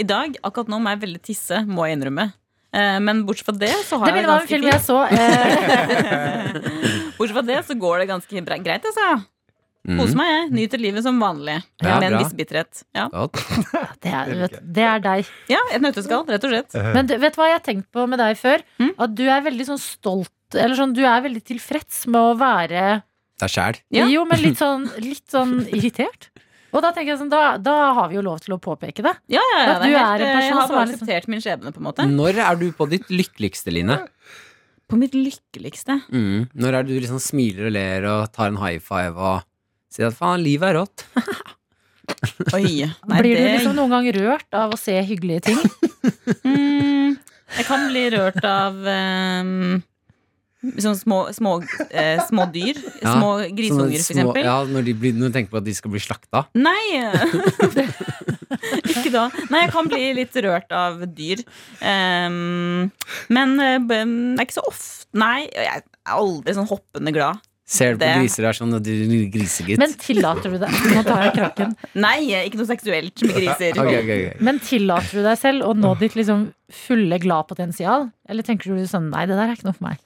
S3: I dag, akkurat nå, må jeg veldig tisse, må jeg innrømme. Eh, Men bortsett fra det, så har
S2: Det
S3: jeg
S2: minner meg om en
S3: ganske
S2: film jeg
S3: fint.
S2: så. Eh,
S3: Bortsett fra det, så går det ganske bre- greit, altså.
S4: Mm.
S3: Koser meg, jeg. Nyter livet som vanlig.
S4: Mhm. Ja,
S3: med en
S4: bra.
S3: viss bitterhet. Ja.
S4: Godt.
S2: det, er, vet, det er deg.
S3: ja, et nøtteskall, rett og slett.
S2: Men du, vet du hva jeg har tenkt på med deg før?
S3: Mm.
S2: At du er veldig sånn stolt Eller sånn, du er veldig tilfreds med å være
S4: Deg sjæl.
S3: Ja.
S2: Jo, men litt sånn, litt sånn irritert. Og da tenker jeg sånn, da, da har vi jo lov til å påpeke det.
S3: Ja, ja, ja,
S2: At
S3: det
S2: du er
S3: er helt,
S2: en
S3: eh,
S2: person
S3: jeg har
S2: som
S3: bare
S2: er liksom-
S3: akseptert min skjebne, på en måte.
S4: Når er du på ditt lykkeligste, Line?
S3: På mitt lykkeligste.
S4: Mm. Når er det du liksom smiler og ler og tar en high five og sier at faen, livet er rått?
S3: Oi. Nei,
S2: Blir du
S3: det-
S2: liksom noen gang rørt av å se hyggelige ting?
S3: Mm, jeg kan bli rørt av um, sånne små, små, eh, små dyr.
S4: Ja,
S3: Små
S4: Sånne
S3: grisunger, for
S4: små-
S3: eksempel.
S4: Ja, når, de blir, når du tenker på at de skal bli slakta.
S3: Nei! Ikke da. Nei, jeg kan bli litt rørt av dyr. Um, men eh, b- det er ikke så ofte Nei, jeg er aldri sånn hoppende glad.
S4: Ser du på
S3: Det-
S4: griser og er sånn at du er grisegutt?
S2: Men tillater du deg Nå tar jeg kraken.
S3: Nei, ikke noe seksuelt med griser.
S4: Ok, ok, ok.
S2: Men tillater du deg selv å nå ditt liksom fulle glad-potensial? Eller tenker du sånn Nei, det der er ikke noe for meg.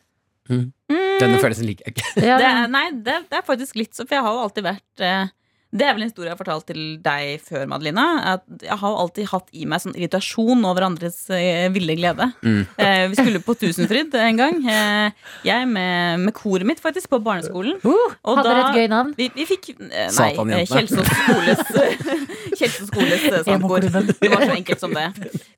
S4: Denne følelsen liker jeg ikke.
S2: Ja,
S3: Det
S2: men-
S3: er, nei, det, det er faktisk litt så, for jeg har jo alltid vært eh, Det er vel en historie jeg har fortalt til deg før, Madelina. At jeg har jo alltid hatt i meg sånn irritasjon over andres eh, ville glede. Eh, vi skulle på Tusenfryd en gang. Eh, jeg med, med koret mitt, faktisk, på barneskolen. og
S2: Uh, Hadde dere
S3: da-
S2: et gøy navn?
S3: Vi, vi fikk eh, Nei, eh,
S4: Satanjentene.
S3: Kjelsås skoles Kjelsås skoles eh, sangkor.
S2: Emo-klubben.
S3: Det var så enkelt som det.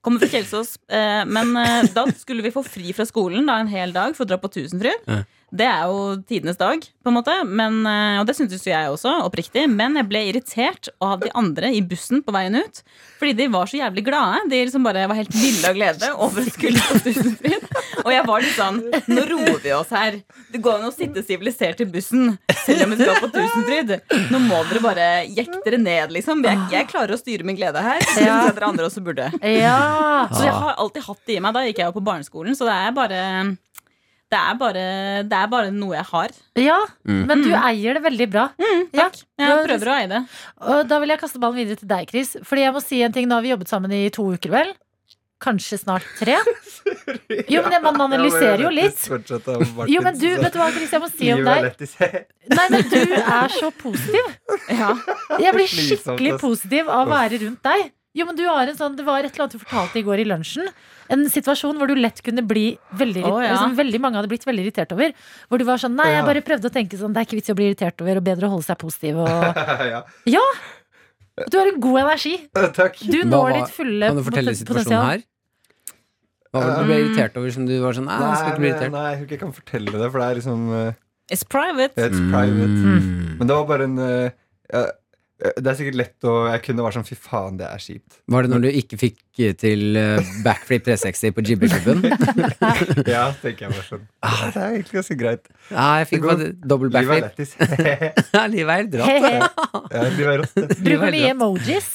S3: Kommer fra Kjelsås. eh, Men eh, da skulle vi få fri fra skolen da, en hel dag for å dra på Tusenfryd.
S4: Ja.
S3: Det er jo tidenes dag, på en måte. Men, eh, og det syntes jo jeg også, oppriktig. Men jeg ble irritert av de andre i bussen på veien ut. Fordi de var så jævlig glade. De liksom bare var helt ville av glede over å skulle på Tusenfryd. Og jeg var litt sånn Nå roer vi oss her. Det går an å sitte sivilisert i bussen selv om vi skal på Tusenfryd. Nå må dere bare jekke dere ned, liksom. Jeg, jeg klarer å styre min glede her. Det synes jeg dere andre også burde.
S2: Ja.
S3: Så jeg har alltid hatt det i meg. Da gikk jeg jo på barneskolen, så det er bare det er, bare, det er bare noe jeg har.
S2: ja.
S3: Mm.
S2: Men du eier det veldig bra. Ja.
S3: Jeg prøver å eie det.
S2: Og da vil jeg kaste ballen videre til deg, Chris. Fordi jeg må si en ting, Nå har vi jobbet sammen i to uker, vel? Kanskje snart tre? Jo, men man analyserer jo litt. Jo, men
S5: sånn.
S2: du, vet du hva, Chris, jeg må si om deg Nei, men du er så positiv.
S3: Ja.
S2: Jeg blir
S4: sånn,
S5: Slitsomt,
S2: skikkelig
S5: ass.
S2: positiv av å være rundt deg. Jo, men du har en sånn, Det var et eller annet du fortalte i går i lunsjen. En situasjon hvor du lett kunne bli veldig irri-
S3: Å, ja.
S2: liksom, Veldig mange hadde blitt veldig irritert over. Hvor du var sånn Nei, jeg bare prøvde å tenke sånn Det er ikke vits i å bli irritert over, og bedre å holde seg positiv og
S5: ja.
S2: Ja! Du har en god energi.
S5: Eh, Takk.
S2: Du
S4: Hva
S2: når
S4: var-
S2: ditt fulle
S4: Kan du fortelle
S2: poten-
S4: situasjonen
S2: potensial.
S4: her? Hva var det du ble irritert over som du var sånn Nei, jeg skal ikke bli
S5: Nei,
S4: irritert.
S5: nei, jeg kan fortelle det, for det er liksom eh,
S3: It's private.
S5: uh, It's private.
S4: Mm.
S5: Men det var bare en eh, eh, Det er sikkert lett å Jeg kunne vært sånn Fy faen, det er kjipt.
S4: Var det når du ikke fikk eh, til eh, backflip 360 på jibbeklubben?
S5: Ja, tenker jeg bare sånn. Ah, det er egentlig ganske greit.
S4: Nei, Ah, jeg fikk
S5: Det
S4: bare
S5: går-
S4: dobbel
S5: Livet er
S4: backflip.
S5: lættis.
S4: Ja, Livet er helt rått.
S2: Hehe.
S5: ja, livet er rått, det.
S4: Livet
S2: Bruker mye
S4: er helt rått.
S2: emojis.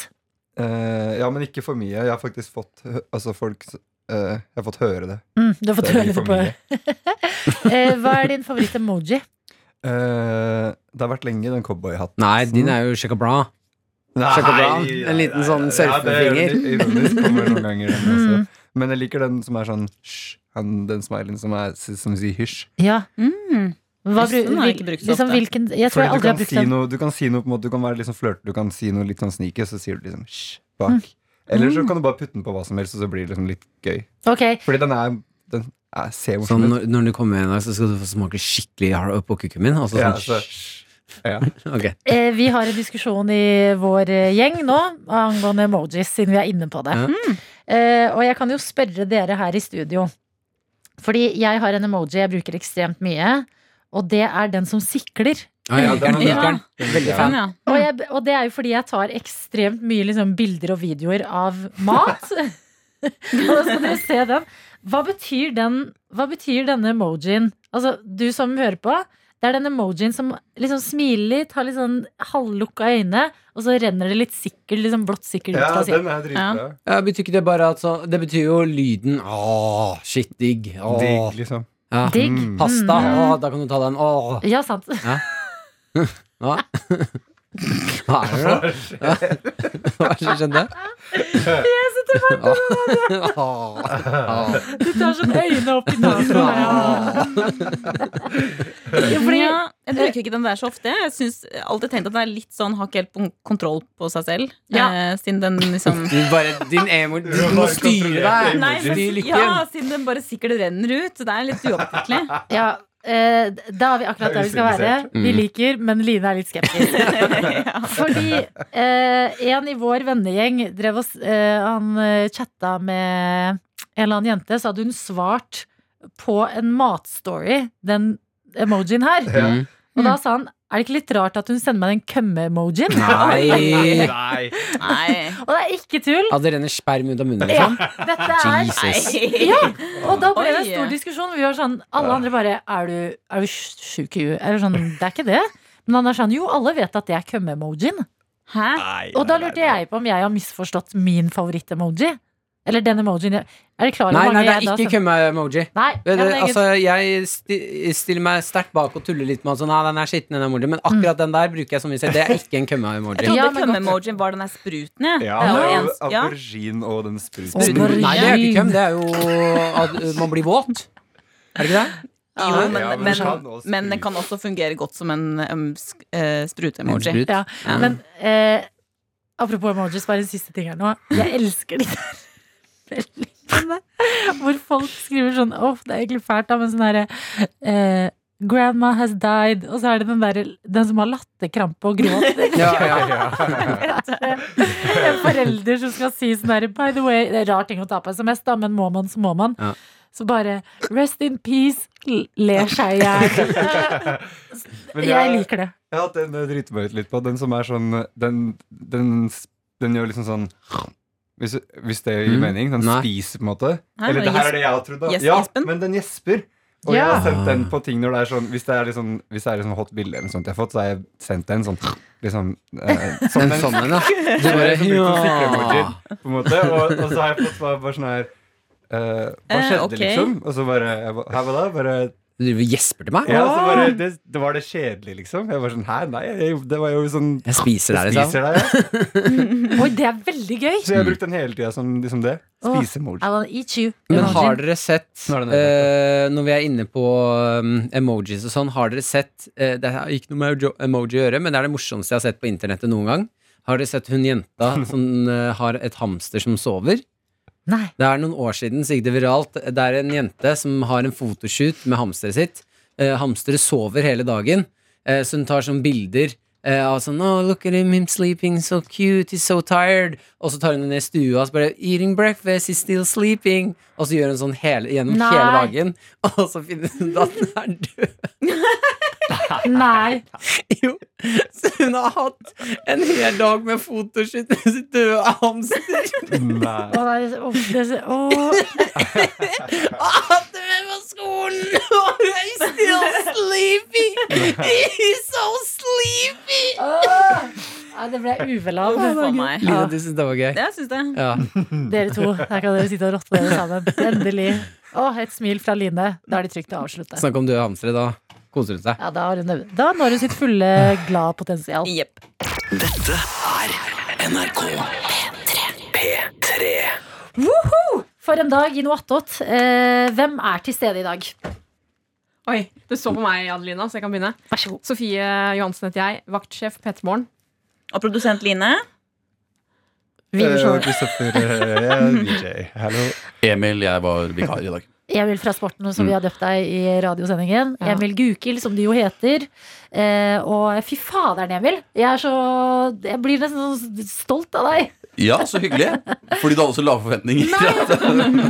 S5: Eh, ja, men ikke for mye. Jeg har faktisk fått hø- Altså, folk s- eh, Jeg har fått høre det.
S2: Mm, du har fått
S5: Det er
S2: høre
S5: litt
S2: det
S5: for
S2: på
S5: mye.
S2: Eh, Hva er din favoritt-emoji?
S5: Eh, det har vært lenge, den cowboyhatten. Altså.
S4: Nei, din er jo sjekka bra.
S5: Nei,
S4: Sjekka bra. En
S5: nei,
S4: liten
S5: nei,
S4: sånn
S5: nei. Ja, det er
S4: surfefinger. Mm.
S5: ironi- ironisk, kommer noen ganger, den også. Men jeg liker den som er sånn hysj. Han- Den smileyen som, er, som sier hysj.
S2: Ja. Mm. Hva bru,
S3: Hysjen har jeg ikke
S2: hvil-
S3: brukt så
S2: liksom,
S3: ofte.
S2: hvilken, jeg tror
S5: Fordi
S2: jeg aldri
S5: du
S2: har
S5: kan,
S2: brukt
S5: si
S2: den.
S5: noe, du kan si noe på en måte Du kan være litt sånn flørte, du kan si noe litt sånn sneaky, så sier du liksom hysj bak.
S2: Mm.
S5: Eller så kan du bare putte den på hva som helst, og så blir det liksom litt gøy.
S2: Ok,
S5: Fordi den er Den er, ser
S4: Sånn,
S5: morsom ut.
S4: når, når du kommer hjem i dag, så skal du få smake skikkelig hard på kukken min. Og så
S5: Ja, altså,
S4: sånn,
S5: så- ja.
S4: ok.
S2: eh, Vi har en diskusjon i vår eh, gjeng nå angående emojis, siden vi er inne på det.
S4: Ja.
S3: Mm.
S2: Eh, og jeg kan jo spørre dere her i studio. Fordi jeg har en emoji jeg bruker ekstremt mye, og det er den som sikler.
S4: Ah, jeg liker den.
S3: Ja.
S4: Liker den. Veldig fan.
S3: Sånn, ja.
S2: Og, jeg, og det er jo fordi jeg tar ekstremt mye liksom, bilder og videoer av mat. og da skal dere se den. Hva betyr, den, hva betyr denne emojien? Altså, du som hører på. Det er den emojien som liksom smiler litt, har litt sånn halvlukka øyne, og så renner det litt sikkert, liksom blått sikkert ut
S5: ja,
S2: fra siden.
S5: den er dritbra.
S4: Ja, betyr ikke det bare at sånn Det betyr jo lyden Åh, shit, digg. Åh.
S5: Digg, liksom.
S4: Ja.
S2: Digg.
S5: Mm.
S4: Pasta. Åh, da kan du ta den. Åh.
S2: Ja, sant.
S4: Ja. Hva? Hva er det? da? Hva er det som skjedde? Åh.
S2: Du tar sånn øynene opp i nasen. Ja.
S3: Ja, fordi jeg bruker ikke den der så ofte. Jeg synes jeg har alltid tenkt at den er litt sånn har ikke helt kontroll på seg selv.
S6: Ja.
S3: Eh, siden den liksom
S4: Du bare, din emo, du må styre deg.
S3: Nei, men,
S4: Styr lykken.
S3: ja, siden den bare sikkert renner ut. Det er litt uoppfattelig.
S2: Ja, eh, da er vi akkurat der vi skal være. Vi liker, men Line er litt skeptisk.
S3: Mm. ja.
S2: Fordi eh, en i vår vennegjeng drev oss, eh, Han eh, chatta med en eller annen jente, så hadde hun svart på en matstory, den emojien her.
S4: Mm.
S2: Og da sa han er det ikke litt rart at hun sender meg den kømme-emojien?
S4: Nei.
S5: Nei.
S3: Nei.
S2: Og det er ikke tull!
S4: Ja, det renner sperm ut av munnen.
S2: Ja,
S4: Liksom.
S2: dette er
S4: Jesus.
S2: Ja! Og da ble det en
S3: Oi.
S2: stor diskusjon. Vi var sånn, Alle andre bare Er du, er du sjuk i huet? Eller sånn, det er ikke det. Men han er sånn Jo, alle vet at det er kømme-emojien.
S3: Hæ?
S2: Og da lurte jeg på om jeg har misforstått min favoritt-emoji. Eller den emojien jeg Er dere klar
S4: Nei,
S2: over
S4: nei, det
S2: jeg
S4: er
S2: da
S4: ikke
S2: sendte?
S4: kømme-emoji.
S2: Nei,
S4: Vet
S2: ja,
S4: dere,
S2: men jeg-
S4: Altså, jeg sti- stiller meg sterkt bak og tuller litt med han sånn, Nei, den er skitten, den emojien. Men akkurat den der bruker jeg som vi ser. Det er ikke en
S3: Jeg
S4: kømme-emoji.
S2: Ja,
S3: trodde
S2: men godt.
S3: kømme-emojien var den der spruten, jeg.
S5: Ja,
S3: Det var
S5: og
S3: en- ja.
S5: Aubergine og den
S2: Sprut.
S5: spruten.
S2: Aubergine.
S4: Nei, det er ikke køm. Det er jo at uh, man blir våt. Er det ikke det?
S3: Jo, men,
S5: Ja, men
S3: men,
S5: den kan også
S3: men den
S5: sprute.
S3: kan også fungere godt som en um, sk- eh, sprute-emoji.
S4: Sprut.
S2: ja. Men eh, apropos emojis, bare en siste ting her nå. Jeg elsker de der meldingene hvor folk skriver sånn Åh, det er egentlig fælt, da, men sånn herre eh, Grandma has died. Og så er det den, der, den som har latterkrampe og gråter.
S4: Ja, ja, ja.
S2: en forelder som skal si sånn her By the way, det er rar ting å ta på SMS, da, men må man, så må man.
S4: Ja.
S2: Så bare rest in peace, l- ler seg i hjel.
S5: Men
S2: Jeg liker det.
S5: Jeg har hatt en jeg driter meg ut litt på. Den som er sånn Den, den, den gjør liksom sånn hvis, hvis det gir
S4: Mm.
S5: mening. Den
S4: Nei.
S5: spiser, på en måte.
S3: Hæ,
S5: Eller
S3: den
S5: det her
S3: gjesp-
S5: er det jeg har trodd, da.
S3: gjes-
S5: ja,
S3: gjespen?
S5: men den gjesper. Og jeg
S2: Ja.
S5: har sendt den på ting når det er sånn Hvis det er litt sånn- hvis det er litt sånn hot bilde eller noe sånt jeg har fått, så har jeg sendt den sånn liksom, eh, som
S4: En
S5: den
S4: sånn en, ja. Du bare
S5: som brukte å sikre
S4: ja.
S5: emoji, på en måte. Og, og så har jeg fått bare, bare sånn her eh, Hva
S3: Eh,
S5: skjedde,
S3: ok.
S5: liksom? Og så bare jeg ba- Hæ, hva da? Bare,
S4: Du driver og gjesper til meg?
S5: ja, så bare det, det var det kjedelig, liksom. Jeg var sånn Hæ, nei. Jeg, det var jo sånn
S4: Jeg spiser deg, liksom.
S5: Spiser deg, ja.
S2: Oi, det er veldig gøy.
S5: Så jeg har brukt
S4: Mm.
S5: den hele tida som liksom det. Spise-emoji.
S2: I wanna eat you.
S4: Men
S2: Emojien.
S4: har dere sett,
S5: Nå er det nødvendig.
S4: eh, når vi er inne på um, emojis og sånn, har dere sett eh, Det har ikke noe med jo- emoji å gjøre, men det er det morsomste jeg har sett på internettet noen gang. Har dere sett hun jenta som eh, har et hamster som sover?
S2: Nei.
S4: Det er noen år siden så gikk det viralt. Det er en jente som har en fotoshoot med hamsteret sitt. Eh, hamsteret sover hele dagen, eh, så hun tar sånne bilder. eh, av sånn, oh, look at him, him sleeping, so cute, he's so tired. Og så tar hun henne ned i stua og så bare Eating breakfast, he's still sleeping. Og så gjør hun sånn hele, gjennom hele
S2: Nei.
S4: dagen. Og så finner hun ut at den er død.
S2: Nei.
S4: Jo. Så hun har hatt en hel dag med fotoshoot med sitt døde hamster.
S5: Nei.
S2: Å, nei. å, det- å.
S4: At du er på skolen og du er still sleepy He's so sleepy
S2: Nei, det ble jeg uvel av.
S3: Uff a meg.
S4: Line, du synes det var gøy?
S3: Det jeg syns det.
S4: Ja,
S2: Dere to, her kan dere sitte og rotte dere sammen. Endelig. Å, et smil fra Line. Da er det trygt å avslutte.
S4: snakk om døde hamstere da Koser hun seg
S2: Ja, da, har hun- da når hun sitt fulle glad potensial.
S3: Jepp.
S9: NRK P3.
S2: For en dag i noe attåt. Eh, hvem er til stede i dag?
S6: Oi, du så på meg, Adelina, så jeg kan begynne.
S2: Vær så god.
S6: Sofie Johansen heter jeg, vaktsjef P3 Morgen.
S3: Og produsent Line.
S2: Vi
S5: Eh,
S2: får se.
S5: Kristoffer eh, jeg er VJ. Hallo.
S10: Emil, jeg var vikar i dag.
S2: Emil fra Sporten, som vi har døpt deg i radiosendingen. Emil Gukild, som du jo heter. Eh, og fy faderen, Emil. Jeg, er så, jeg blir nesten sånn stolt av deg.
S10: Ja, så hyggelig. Fordi du hadde så lave forventninger.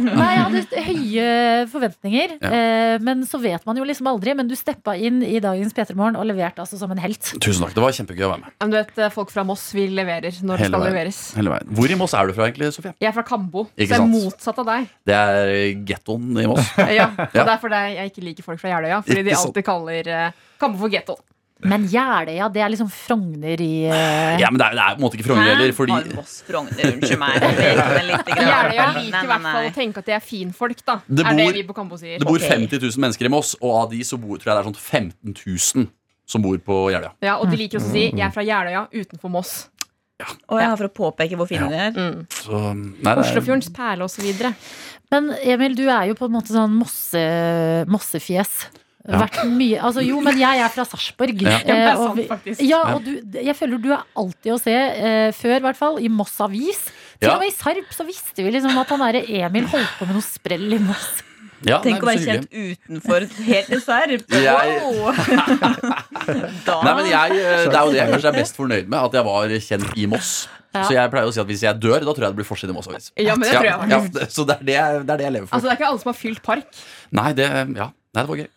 S2: Nei, jeg hadde høye forventninger.
S10: Ja.
S2: Eh, men så vet man jo liksom aldri. Men du steppa inn i dagens P3 Morgen og leverte altså som en helt.
S10: Tusen takk, Det var kjempegøy å være med.
S6: Men du vet, eh, folk fra Moss, vi leverer når det
S10: Hele
S6: skal
S10: veien.
S6: leveres.
S10: Hele veien. Hvor i Moss er du fra, egentlig, Sofie?
S6: Jeg er fra Kambo, så
S10: Ikke
S6: jeg er
S10: sant?
S6: motsatt av deg. Eh,
S10: Det er gettoen i Moss.
S6: Ja, og
S10: Ja.
S6: det er fordi jeg ikke liker folk fra Jeløya. Fordi de
S10: Ikke sant.
S6: alltid kaller eh, Kambo for getto.
S2: Men Jeløya, det er liksom Frogner i eh,
S10: Ja, men det er, det er på en måte ikke Frogner heller, fordi
S3: Har Moss Frogner, unnskyld meg. Jeg vet vel lite grann.
S6: Jeløya liker
S3: Nei,
S6: i
S3: nei,
S6: hvert fall å
S3: nei.
S6: tenke at de er finfolk, da.
S10: Det
S6: er det
S10: bor-
S6: vi på Kambo sier.
S10: det bor
S3: Ok.
S10: 50 000 mennesker i Moss, og av de så bor tror jeg det er sånn 15 000 som bor på Jeløya.
S6: Ja, og de liker også å si 'jeg er fra Jeløya, utenfor Moss'.
S3: Og jeg har for å påpeke hvor fine de er.
S6: Mm.
S10: Så, nei, det er-
S6: Oslofjordens perle osv.
S2: Men Emil, du er jo på en måte sånn mosse, mossefjes.
S10: Ja.
S2: Vært mye, altså jo, men jeg er fra Sarpsborg.
S10: Ja.
S2: eh,
S3: det er
S2: og
S3: sant,
S2: vi-
S3: faktisk.
S2: Ja, og du, jeg føler du er alltid å se, eh, før i hvert fall, i Moss Avis. Til
S10: Ja.
S2: og med i Sarp så visste vi liksom at han derre Emil holdt på med noe sprell i Moss.
S10: ja, nei,
S3: Tenk å
S10: men
S3: være
S10: så
S3: kjent
S10: hyggelig.
S3: utenfor helt reserv.
S10: Jeg-
S3: Wow! da
S10: Nei, men jeg, eh, Det er jo det jeg kanskje er best fornøyd med, at jeg var kjent i Moss.
S2: Ja.
S10: Så jeg pleier å si at hvis jeg dør, da tror jeg det blir forside i Moss Avis.
S6: Ja, men det tror jeg
S10: ja,
S6: faktisk.
S10: det- Så det er det, jeg, det er det jeg lever for.
S6: Altså, det er ikke alle som har fylt park.
S10: Nei, det, ja. Nei, det var gøy.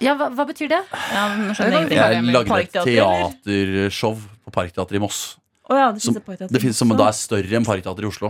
S2: Ja, hva, hva betyr det?
S3: Ja, men nå skjønner jeg ingenting.
S10: Jeg lagde et
S3: Parkteater, eller?
S10: teatershow på Parkteatret i Moss.
S3: Å ja, det
S10: Som-
S3: finnes et parkteater.
S10: Det finnes som da er større enn Parkteatret i Oslo.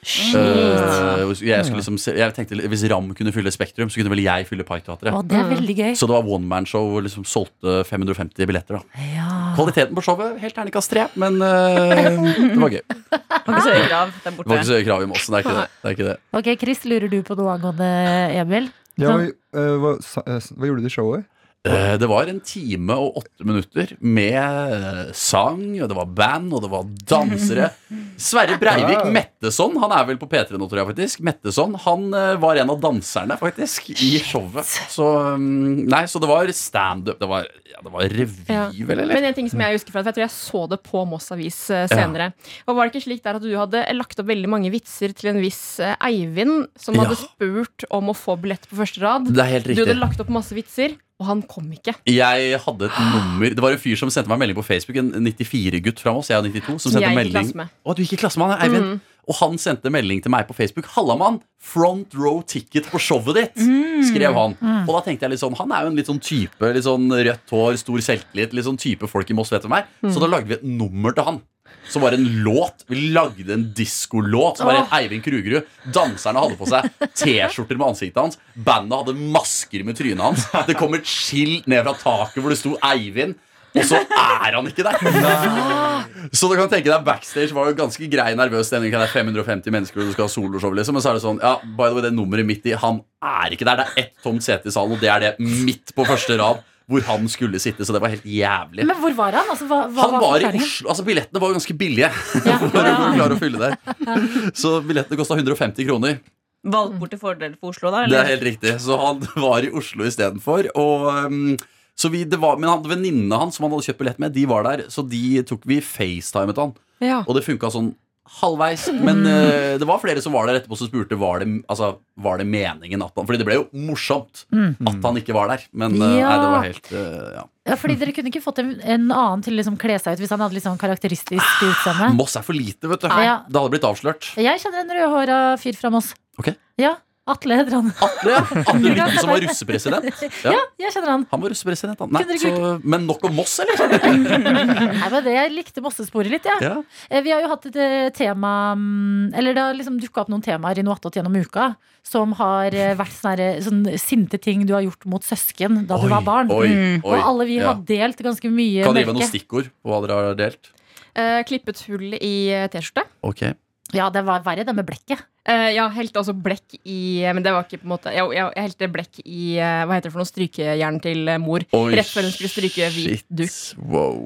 S10: Eh, jeg, skulle liksom, se- jeg tenkte Hvis Ram kunne fylle Spektrum, så kunne vel jeg fylle Parkteatret.
S2: Å, det er
S3: Mm.
S2: veldig gøy.
S10: Så det var one man show og liksom solgte 550 billetter. da
S2: Ja.
S10: Kvaliteten på showet helt terningkast tre, men eh, det var gøy. Det
S3: Kan
S6: Ah.
S3: ikke så høye krav der
S10: var ikke
S3: borte.
S10: så høye krav i Moss. Det er ikke det. det, er ikke det.
S2: Ok, Chris, lurer du på noe angående Emil? Sånn.
S5: Ja, hva, eh, hva, sa- eh, hva gjorde du i showet?
S10: Eh, Det var en time og åtte minutter med eh, sang, og det var band, og det var dansere. Sverre Breivik
S5: Wow.
S10: Metteson, han er vel på P3 nå, tror jeg faktisk. Metteson, han eh, var en av danserne, faktisk, i showet. Så mm, Nei, så det var standup. Det var, ja, det var revy, vel, eller?
S6: Men en ting som jeg husker fra, for jeg tror jeg så det på Moss Avis eh, senere. Og Var det ikke slik der at du hadde lagt opp veldig mange vitser til en viss eh, Eivind, som
S10: Ja.
S6: hadde spurt om å få billett på første rad?
S10: Det er helt
S6: Du hadde
S10: riktig.
S6: lagt opp masse vitser, og han kom ikke.
S10: Jeg hadde et nummer Det var en fyr som sendte meg en melding på Facebook, en 94-gutt fra oss, jeg er 92, som sendte
S6: jeg gikk i
S10: melding
S6: klasse med.
S10: Å, du gikk i klasse med han, Eivind. Og han sendte melding til meg på Facebook. 'Halla, mann! Front row ticket på showet ditt!' skrev han. Og da tenkte jeg litt sånn Han er jo en litt sånn type. Litt sånn rødt hår, stor selvtillit. Litt sånn type folk i Moss vet hvem er. Så da lagde vi et nummer til han. Som var en låt. Vi lagde en diskolåt som var en Eivind Krugerud. Danserne hadde på seg T-skjorter med ansiktet hans. Bandet hadde masker med trynet hans. Det kom et skilt ned fra taket hvor det sto Eivind. Og så er han ikke der! Så du kan tenke deg Backstage var jo ganske grei nervøs stemning. Det er 550 mennesker, og du skal ha soloshow. Liksom. Men så er det sånn Ja, by the way, det nummeret midt i, han er ikke der. Det er ett tomt sete i salen, og det er det midt på første rad hvor han skulle sitte. Så det var helt jævlig.
S2: Men hvor var han? Altså, hva, hva
S10: Han var i
S2: forklaringen?
S10: Oslo. Altså, billettene var jo ganske billige.
S2: Ja.
S10: For å klare å fylle der. Så billettene kosta 150 kroner.
S3: Valgt bort til fordel for Oslo, da?
S10: Det er
S3: Eller?
S10: helt riktig. Så han var i Oslo istedenfor. Og, um, så vi, det var, men han- venninnene hans som han hadde kjøpt billett med, de var der. Så de tok vi facetimet han.
S6: Ja.
S10: Og det funka sånn halvveis.
S2: Mm.
S10: Men eh, det var flere som var der etterpå som spurte var det, altså, var det meningen at han Fordi det ble jo morsomt at han ikke var der. Men eh, nei,
S2: Mm.
S10: det
S2: Ja.
S10: var helt eh, ja.
S2: Ja, fordi Dere kunne ikke fått en, en annen til å liksom kle seg ut hvis han hadde litt sånn karakteristisk utseende?
S10: Moss er for lite, vet du.
S2: Ja.
S10: Det hadde blitt avslørt.
S2: Jeg kjenner en rødhåra fyr fra Moss.
S10: Ok.
S2: Ja, Atle heter han.
S10: Atle, Atle Lykken som var russepresident. Ja.
S2: Ja, jeg kjenner han.
S10: Han var russepresident, han. Nei,
S2: Kunne dere
S10: så, men nok om Moss, eller?
S2: Nei, men det, Jeg likte Mossesporet litt, jeg.
S10: Ja.
S2: Eh, Vi har jo hatt et eh, tema mm, Eller det har liksom dukka opp noen temaer i noe attåt gjennom uka som har eh, vært sånne, her, sånne sinte ting du har gjort mot søsken da du var barn.
S10: Oi, oi,
S2: Mm. Og alle vi
S10: ja.
S2: har delt ganske mye
S10: Kan dere gi meg
S2: mørke.
S10: noen stikkord på hva dere har delt?
S6: Eh, klippet hull i eh, T-skjorte.
S10: Ok
S2: Ja, det var verre, det med blekket.
S6: Eh, ja, helte også blekk i Men det var ikke på en måte Jeg, jeg, jeg helte blekk i eh, Hva heter det for noe? Strykejern til eh, mor.
S10: Oi,
S6: Rett før hun skulle stryke hvit
S10: shit.
S6: duk.
S10: Wow.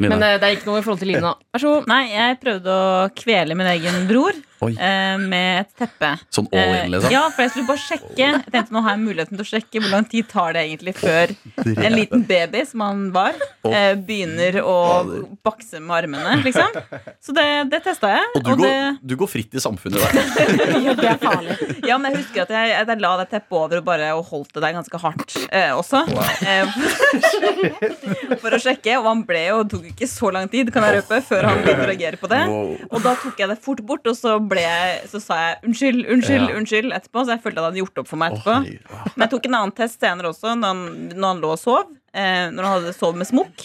S6: Men
S10: Line.
S6: eh, det er ikke noe i forhold til Lina. Vær så god.
S3: Nei, jeg prøvde å kvele min egen bror
S10: Oi.
S3: eh, med et teppe.
S10: Sånn all in, liksom?
S3: Eh, Ja, for jeg skulle bare sjekke Jeg tenkte nå har jeg muligheten til å sjekke hvor lang tid tar det egentlig før
S10: Drepe.
S3: en liten baby som han var, eh, begynner å
S10: Fader.
S3: bakse med armene, liksom. Så det, det testa jeg.
S10: Og du, går, du går fritt i samfunnet der.
S2: Det er farlig.
S3: det, ja, men jeg husker at jeg, at jeg la det teppet over og bare og holdt det der ganske hardt eh, også. Eh, for å sjekke. Og han ble jo, det tok ikke så lang tid, kan jeg røpe, før han begynte å reagere på det.
S10: Wow.
S3: Og da tok jeg det fort bort, og så, ble jeg, så sa jeg unnskyld, unnskyld,
S10: Ja.
S3: unnskyld etterpå. Så jeg følte at han hadde gjort opp for meg
S10: Å,
S3: etterpå.
S10: herregud. Wow.
S3: Men jeg tok en annen test senere også, når han, når han lå og sov. Eh, når han hadde sovet med smokk.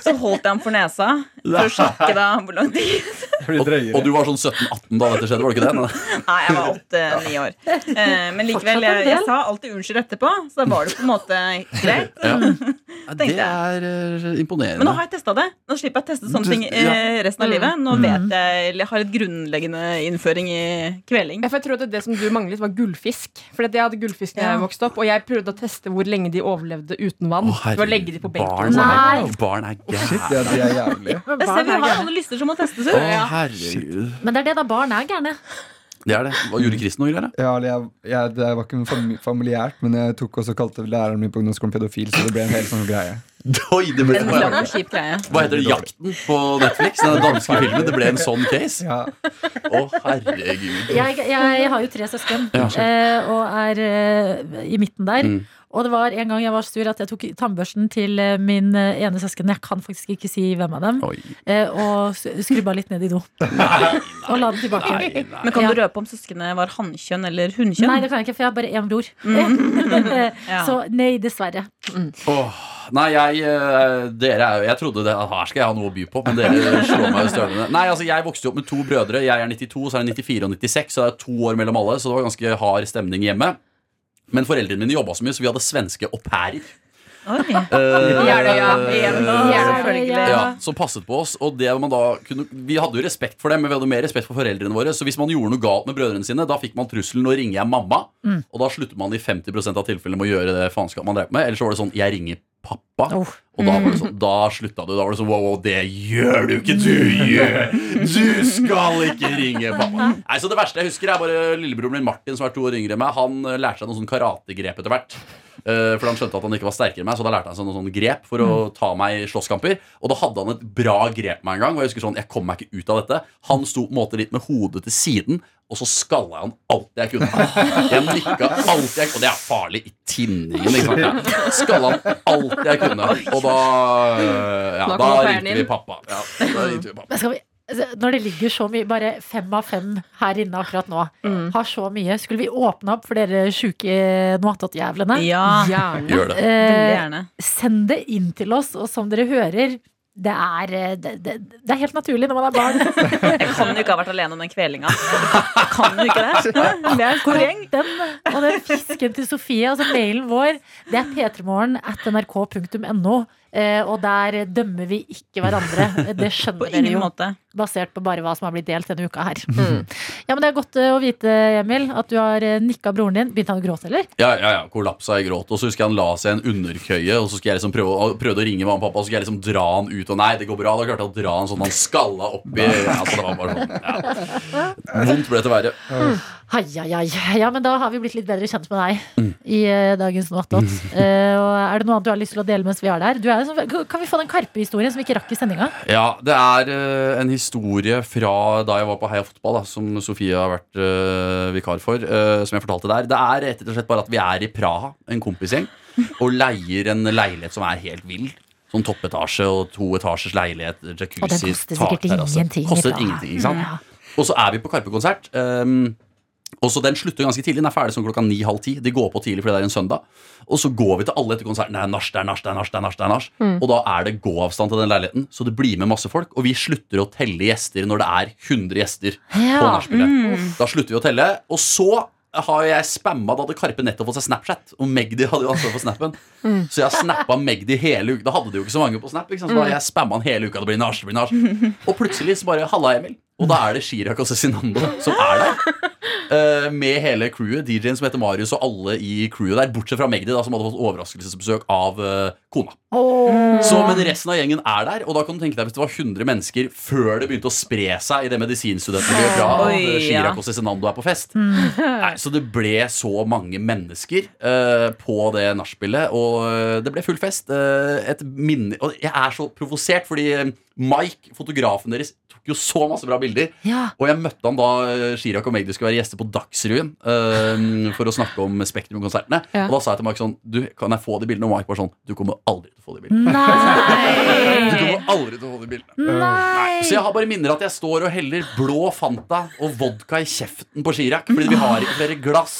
S3: Så holdt jeg ham for nesa for å sjekke da hvor lang tid
S5: Det blir drøyere.
S10: Og du var sånn 17-18 da dette skjedde, var det ikke det?
S3: Nei, jeg var åtte-ni år. Eh, men likevel, jeg, jeg sa alltid unnskyld etterpå, så da var det på en måte greit.
S10: Ja. Ja,
S3: tenkte
S10: Det er eh, imponerende.
S3: Men nå har jeg testa det. Nå slipper jeg å teste sånne
S10: Du-
S3: ting eh, resten av
S6: Mm.
S3: livet. Nå vet jeg, eller jeg har et grunnleggende innføring i kveling.
S11: Ja, for jeg tror at Det som du manglet, var gullfisk. For at Jeg hadde gullfisk da jeg
S3: Ja.
S11: vokste opp, og jeg prøvde å teste hvor lenge de overlevde uten vann.
S10: Å, herregud,
S11: ved å legge de på benken.
S10: Barn,
S2: Nei.
S10: barn er
S5: Shit,
S10: gærne.
S5: ja, de er jævlige.
S3: Jeg ser vi har alle lyster som må testes
S10: Å,
S3: ut.
S10: herregud.
S2: Men det er det, da. Barn er gærne.
S10: Det er det. Hva gjorde Chris noe greier? da?
S5: Ja, eller jeg, jeg, det var ikke noe fami- familiært, men jeg tok også kalte læreren min på ungdomsskolen pedofil, så det ble en hel sånn greie.
S10: Oi, det ble
S3: En lang og kjip greie.
S10: Hva heter det? Jakten på Netflix? Den danske filmen. Det ble en sånn case.
S5: Ja,
S10: Å, herregud.
S2: Jeg, jeg har jo tre søsken
S10: Ja.
S2: eh, og er eh, i midten der.
S10: Mm.
S2: Og det var en gang jeg var sur at jeg tok tannbørsten til eh, min eh, ene søsken. Jeg kan faktisk ikke si hvem av dem.
S10: Oi.
S2: Eh, og s- skrubba litt ned i do. og la den tilbake. Nei,
S10: Nei, nei.
S3: Men kan
S2: Ja.
S3: du røpe om søskene var hannkjønn eller hunnkjønn?
S2: det kan jeg ikke, for jeg har bare én bror.
S3: Mm. Ja.
S2: Så nei, dessverre.
S10: Åh, nei, jeg eh, Dere er jo Jeg trodde det, her skal jeg ha noe å by på, men dere slår meg i støvlene. Nei, altså, jeg vokste jo opp med to brødre. Jeg er 92, så er det 94 og 96, så det er to år mellom alle. Så det var ganske hard stemning hjemme. Men foreldrene mine jobba så mye, så vi hadde svenske au pairer.
S3: Oi.
S10: Eh,
S11: Jeløya.
S2: Jeløya.
S3: Selvfølgelig.
S10: Ja, som passet på oss. Og det man da kunne, vi hadde jo respekt for dem, men vi hadde mer respekt for foreldrene våre. Så hvis man gjorde noe galt med brødrene sine, da fikk man trusselen 'nå ringer jeg mamma'. Og da slutter man i 50 av tilfellene med å gjøre det faenskapet man drev på med. Eller så var det sånn 'jeg ringer pappa'.
S2: Oh.
S10: Og da var det sånn, da slutta du. Da var det sånn wow, wow, det gjør du ikke! Du gjør Du skal ikke ringe pappa! Nei, så Det verste jeg husker, er bare lillebroren min Martin, som er to år yngre enn meg. Han eh, lærte seg noen sånn karategrep etter hvert. Eh, for han skjønte at han ikke var sterkere enn meg, så da lærte han seg noen sånne grep for å
S11: Mm.
S10: ta meg i slåsskamper. Og da hadde han et bra grep meg en gang, og jeg husker sånn Jeg kom meg ikke ut av dette. Han sto på en måte litt med hodet til siden, og så skalla jeg han alt jeg kunne. Jeg nikka alt jeg Og det er farlig i tinningen, ikke sant. Jeg Skalla han alt jeg kunne. Og da eh, Ja,
S11: Da kom
S10: da
S11: au pairen
S10: ringte vi
S11: inn.
S10: pappa. Ja, da ringte vi pappa.
S2: Men skal vi, altså, når det ligger så mye, bare fem av fem her inne akkurat nå,
S3: Mm.
S2: har så mye Skulle vi åpne opp for dere sjuke noatot-jævlene?
S3: Ja,
S11: Gjerne.
S10: Gjør det.
S3: veldig
S2: Eh,
S3: gjerne.
S2: send det inn til oss, og som dere hører det er, eh, det, det, det er helt naturlig når man er barn.
S3: Jeg kan jo ikke ha vært alene om den kvelinga. Jeg Kan jo ikke det. Det er en stor gjeng.
S2: Den, og den fisken til Sofie, altså mailen vår, det er p3morgen at nrk.no. eh, Og der dømmer vi ikke hverandre. Det
S3: På
S2: skjønner dere
S3: ingen
S2: jo.
S3: måte. Mm.
S2: Basert på bare hva som har blitt delt denne uka her. Ja, men Det er godt eh, å vite, Emil, at du har nikka broren din. Begynte han å gråte, eller?
S10: Ja, ja, ja, kollapsa i gråt. Og så husker jeg han la seg i en underkøye, og så skulle jeg liksom prøve, å- prøvde å ringe mamma og pappa, og så skulle jeg liksom dra han ut, og nei, det går bra. Da klarte jeg å dra han sånn han skalla opp i altså, det var bare sånn, ja. Vondt ble det verre.
S2: Ai, ai, ai. Ja, men da har vi blitt litt bedre kjent med deg
S10: Mm.
S2: i eh, dagens Noatot. Eh, og er det noe annet du har lyst til å dele mens vi er der? Du er, jo sånn- kan vi få den Karpe-historien som vi ikke rakk i sendinga?
S10: Ja, det er eh, en historie fra da jeg var på Heia Fotball, da, som Sofie har vært eh, vikar for, eh, som jeg fortalte der. Det er rett og slett bare at vi er i Praha, en kompisgjeng, og leier en leilighet som er helt vill. Sånn toppetasje og toetasjers leilighet, jacuzzi,
S2: Og den koster sikkert
S10: takterrasse.
S2: ingenting. i
S10: Kostet
S2: Praha.
S10: ingenting, ikke sant?
S2: Ja.
S10: Og så er vi på Karpe-konsert. Um, og så Den slutter ganske tidlig. Den er ferdig sånn klokka ni-halv ti. De går på tidlig fordi det er en søndag. Og så går vi til alle etter konserten. Det er nach, det er nach, det er nach. det er nach, det er nach. Og da er det gåavstand til den leiligheten, så det blir med masse folk. Og vi slutter å telle gjester når det er 100 gjester på
S2: Ja.
S10: nachspielet. Da slutter vi å telle. Og så har jeg spamma Da hadde Karpe nettopp fått seg Snapchat. Og Magdi hadde jo ansvar for snappen. Så jeg har snappa Magdi hele uka. Da hadde de jo ikke så mange på Snap. Ikke sant? Så da har jeg spamma han hele uka. Det blir nach, det blir nach. Og plutselig så bare Halla, Emil. Og da er det Chirag og Cezinando som er der. Eh, med hele crewet. DJ-en som heter Marius, og alle i crewet der. Bortsett fra Magdi, da, som hadde fått overraskelsesbesøk av eh, kona. Så, men resten av gjengen er der, og da kan du tenke deg hvis det var 100 mennesker før det begynte å spre seg i det medisinstudentmiljøet fra at
S3: Oi,
S10: eh,
S3: ja. Mm.
S10: Chirag og Cezinando er på fest. Nei, så det ble så mange mennesker eh, på det nachspielet, og eh, det ble full fest. Eh, et minne, og jeg er så provosert, fordi eh, Mike, fotografen deres, tok jo så masse bra bilder.
S2: Ja.
S10: Og jeg møtte han da eh, Chirag og Magdi skulle være gjester på Dagsrevyen eh, for å snakke om Spektrum-konsertene.
S11: Ja.
S10: Og da sa jeg til Mark sånn Du, kan jeg få de bildene? Og Mark var sånn Du kommer aldri til å få de bildene.
S2: Nei!
S10: Du kommer aldri til å få de bildene.
S2: Nei!
S10: Så jeg har bare minner at jeg står og heller blå Fanta og vodka i kjeften på Chirag. Fordi vi har ikke flere glass.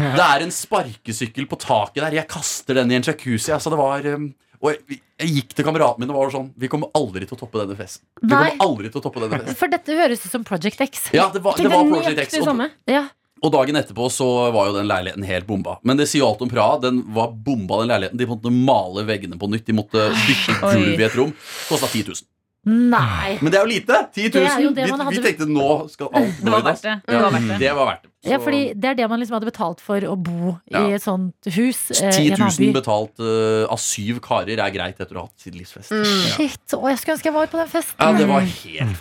S10: Det er en sparkesykkel på taket der. Jeg kaster den i en jacuzzi. Altså, det var eh, og jeg, jeg gikk til kameraten min og var sånn Vi kommer aldri til å toppe denne festen. Vi
S2: Nei.
S10: kommer aldri til å toppe denne festen
S2: For dette høres ut som Project X.
S10: Ja, det var, det var Project X. Og,
S11: samme.
S2: Ja.
S10: Og dagen etterpå så var jo den leiligheten helt bomba. Men det sier jo alt om Praha. Den var bomba, den leiligheten. De måtte male veggene på nytt. De måtte bytte
S3: Oi.
S10: gulv i et rom. Kosta 10 000.
S2: Nei.
S10: Men det er jo lite! 10 000.
S2: Det er jo det
S10: vi,
S2: man
S10: vi
S2: hadde-
S10: tenkte nå skal alt
S3: Det var verdt det. Det var verdt det.
S10: Det var verdt det.
S2: Ja, fordi det er det man liksom hadde betalt for å bo i
S10: Ja.
S2: et sånt hus. eh, i en
S10: 10
S2: annen
S10: 000
S2: by.
S10: betalt eh, av syv karer er greit etter å ha hatt sitt livsfest.
S2: Mm.
S10: Ja.
S2: Shit, å, jeg skulle ønske jeg var på den festen.
S10: ja, det var helt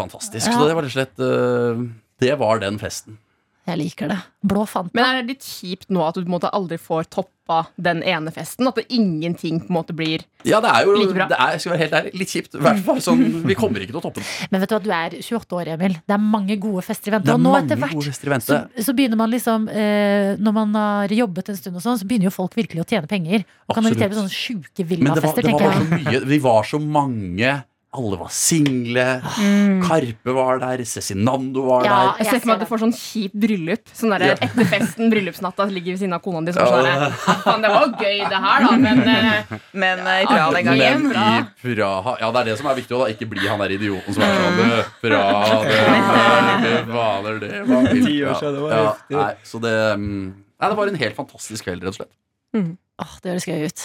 S2: Ja.
S10: fantastisk. Så det var rett og slett eh, Det var den festen.
S2: Jeg liker det. Blå fanta.
S11: Men er det litt kjipt nå at du på en måte aldri får toppa den ene festen? At det ingenting på en måte blir
S10: Ja, det er jo
S11: Like
S10: det
S11: bra.
S10: er, jeg skal være helt ærlig, litt kjipt. I hvert fall sånn, Vi kommer ikke til å toppe den.
S2: Men vet du hva, du er 28 år, Emil. Det er mange gode fester i
S10: Det
S2: vente.
S10: er
S2: Og nå
S10: mange
S2: etter
S10: gode
S2: hvert
S10: fester i vente.
S2: så, så begynner man liksom eh, Når man har jobbet en stund og sånn, så begynner jo folk virkelig å tjene penger. Og kan
S10: Absolutt.
S2: invitere på sånne sjuke
S10: Men det var,
S2: villafester,
S10: det
S2: tenker
S10: var bare sånn-
S2: jeg.
S10: så mye Vi var så mange. Alle var single. Karpe var der. Cezinando var
S2: Mm. Ja,
S10: der.
S11: Jeg ser for meg at du får sånn kjipt bryllup. Sånn der, Etter festen, bryllupsnatta, ligger ved siden av kona di. Sånn, sånn der, Faen, det var jo gøy, det her, da, men eh,
S3: Men eh, i Praha den gangen
S10: Men i Praha Ja, det er det som er viktig å da ikke bli han der idioten som er
S2: Mm.
S10: sånn «Ø, Praha, det det vaner det var vilt».
S5: Ti år siden, det var
S10: ja,
S5: heftig.
S10: Nei, så det mm, Nei, det var en helt fantastisk kveld, rett og slett.
S2: Åh, det høres gøy ut.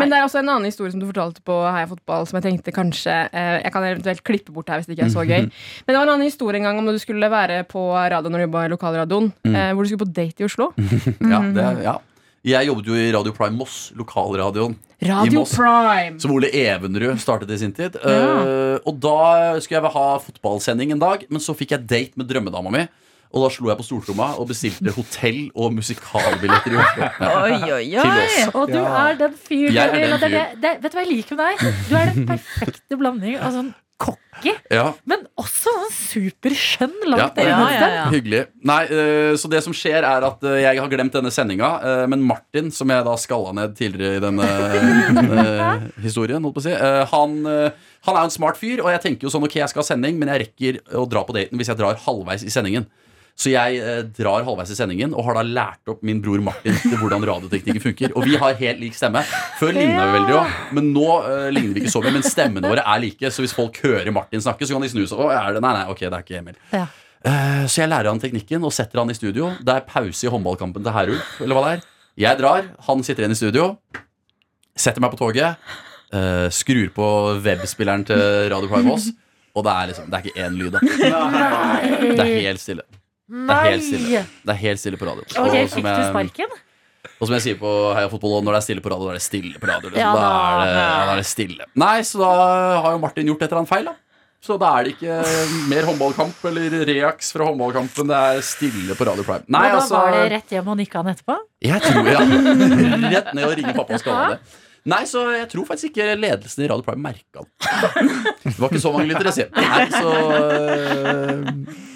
S11: Men det er også en annen historie som du fortalte på Heia Fotball, som jeg tenkte kanskje eh, Jeg kan eventuelt klippe bort her hvis det ikke er så
S10: Mhm.
S11: gøy. Men det var en annen historie en gang om når du skulle være på radioen når du jobba i lokalradioen.
S10: Mhm.
S11: eh, Hvor du skulle på date i Oslo.
S10: Ja, det,
S2: Mm.
S10: ja. Jeg jobbet jo i Radio Prime Moss, lokalradioen. I
S11: Radio
S10: Moss.
S11: Prime!
S10: Som Ole Evenrud startet i sin tid. Eh, og da skulle jeg ha fotballsending en dag, men så fikk jeg date med drømmedama mi. Og da slo jeg på stortromma og bestilte hotell og musikalbilletter i Oslo. Ja,
S3: Oi, oi,
S10: til
S3: oi.
S10: oss.
S2: Og du er den fyren.
S10: Jeg er den
S2: Emil, og det
S10: fyren.
S2: det- det- Vet du hva jeg liker med deg? Du er den perfekte blanding av sånn cocky,
S10: Ja,
S2: men også sånn superskjønn langt
S10: Ja.
S2: ned i
S3: Ja, ja,
S2: venstre.
S3: ja.
S10: Hyggelig. Nei, eh, så det som skjer, er at eh, jeg har glemt denne sendinga. eh, men Martin, som jeg da skalla ned tidligere i denne eh, historien, holdt på å si, eh, han, eh, han er jo en smart fyr. Og jeg tenker jo sånn ok, jeg skal ha sending, men jeg rekker å dra på daten hvis jeg drar halvveis i sendingen. Så jeg eh, drar halvveis i sendingen og har da lært opp min bror Martin til hvordan radioteknikken funker. Og vi har helt lik stemme. Før ligna vi veldig òg, men nå eh, ligner vi ikke så mye. Men stemmene våre er like, så hvis folk hører Martin snakke, så kan de snu seg. Å, er det? Nei, nei, ok, det er ikke Emil.
S2: Ja.
S10: Eh, Så jeg lærer han teknikken og setter han i studio. Det er pause i håndballkampen til Herulf, eller hva det er. Jeg drar, han sitter igjen i studio, setter meg på toget, eh, skrur på webspilleren til Radio Prime Voss, og det er liksom Det er ikke én lyd, da. Det er helt stille. Det er helt stille,
S2: Nei!
S10: det er helt stille på radio.
S2: Ok,
S10: Og som
S2: fikk du
S10: jeg-
S2: sparken?
S10: og som jeg sier på Heia Fotball, når det er stille på radio, da er det stille på radio. Liksom.
S2: Ja,
S10: da,
S2: da-
S10: er det, ja, da er det stille. Nei, så da har jo Martin gjort et eller annet feil, da. Så da er det ikke mer håndballkamp eller reaks fra håndballkampen. Det er stille på Radio Prime. Nei,
S2: og da
S10: altså
S2: var det rett hjem og nikka han etterpå?
S10: Jeg tror ja. Rett ned og ringe pappa og skalle det. Nei, så jeg tror faktisk ikke ledelsen i Radio Prime merka det. Det var ikke så mange lyttere, sier jeg. Nei, eh, så,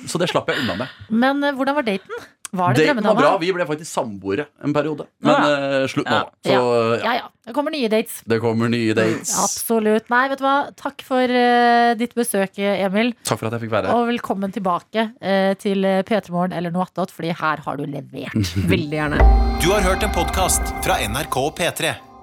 S10: så det slapp jeg unna med.
S2: Men eh, hvordan var daten? Var det
S10: Daten var
S2: drømmedama?
S10: bra. Vi ble faktisk samboere en periode. Men eh, slutt nå.
S3: Ja.
S10: Så ja.
S2: Ja ja, det kommer nye dates.
S10: Det kommer nye dates.
S2: Absolutt. Nei, vet du hva. Takk for eh, ditt besøk, eh, Emil.
S10: Takk for at jeg fikk være her.
S2: Og velkommen tilbake eh, til eh, P3 Morgen eller noe attåt, fordi her har du levert.
S11: Veldig gjerne.
S1: Du har hørt en podkast fra NRK P3.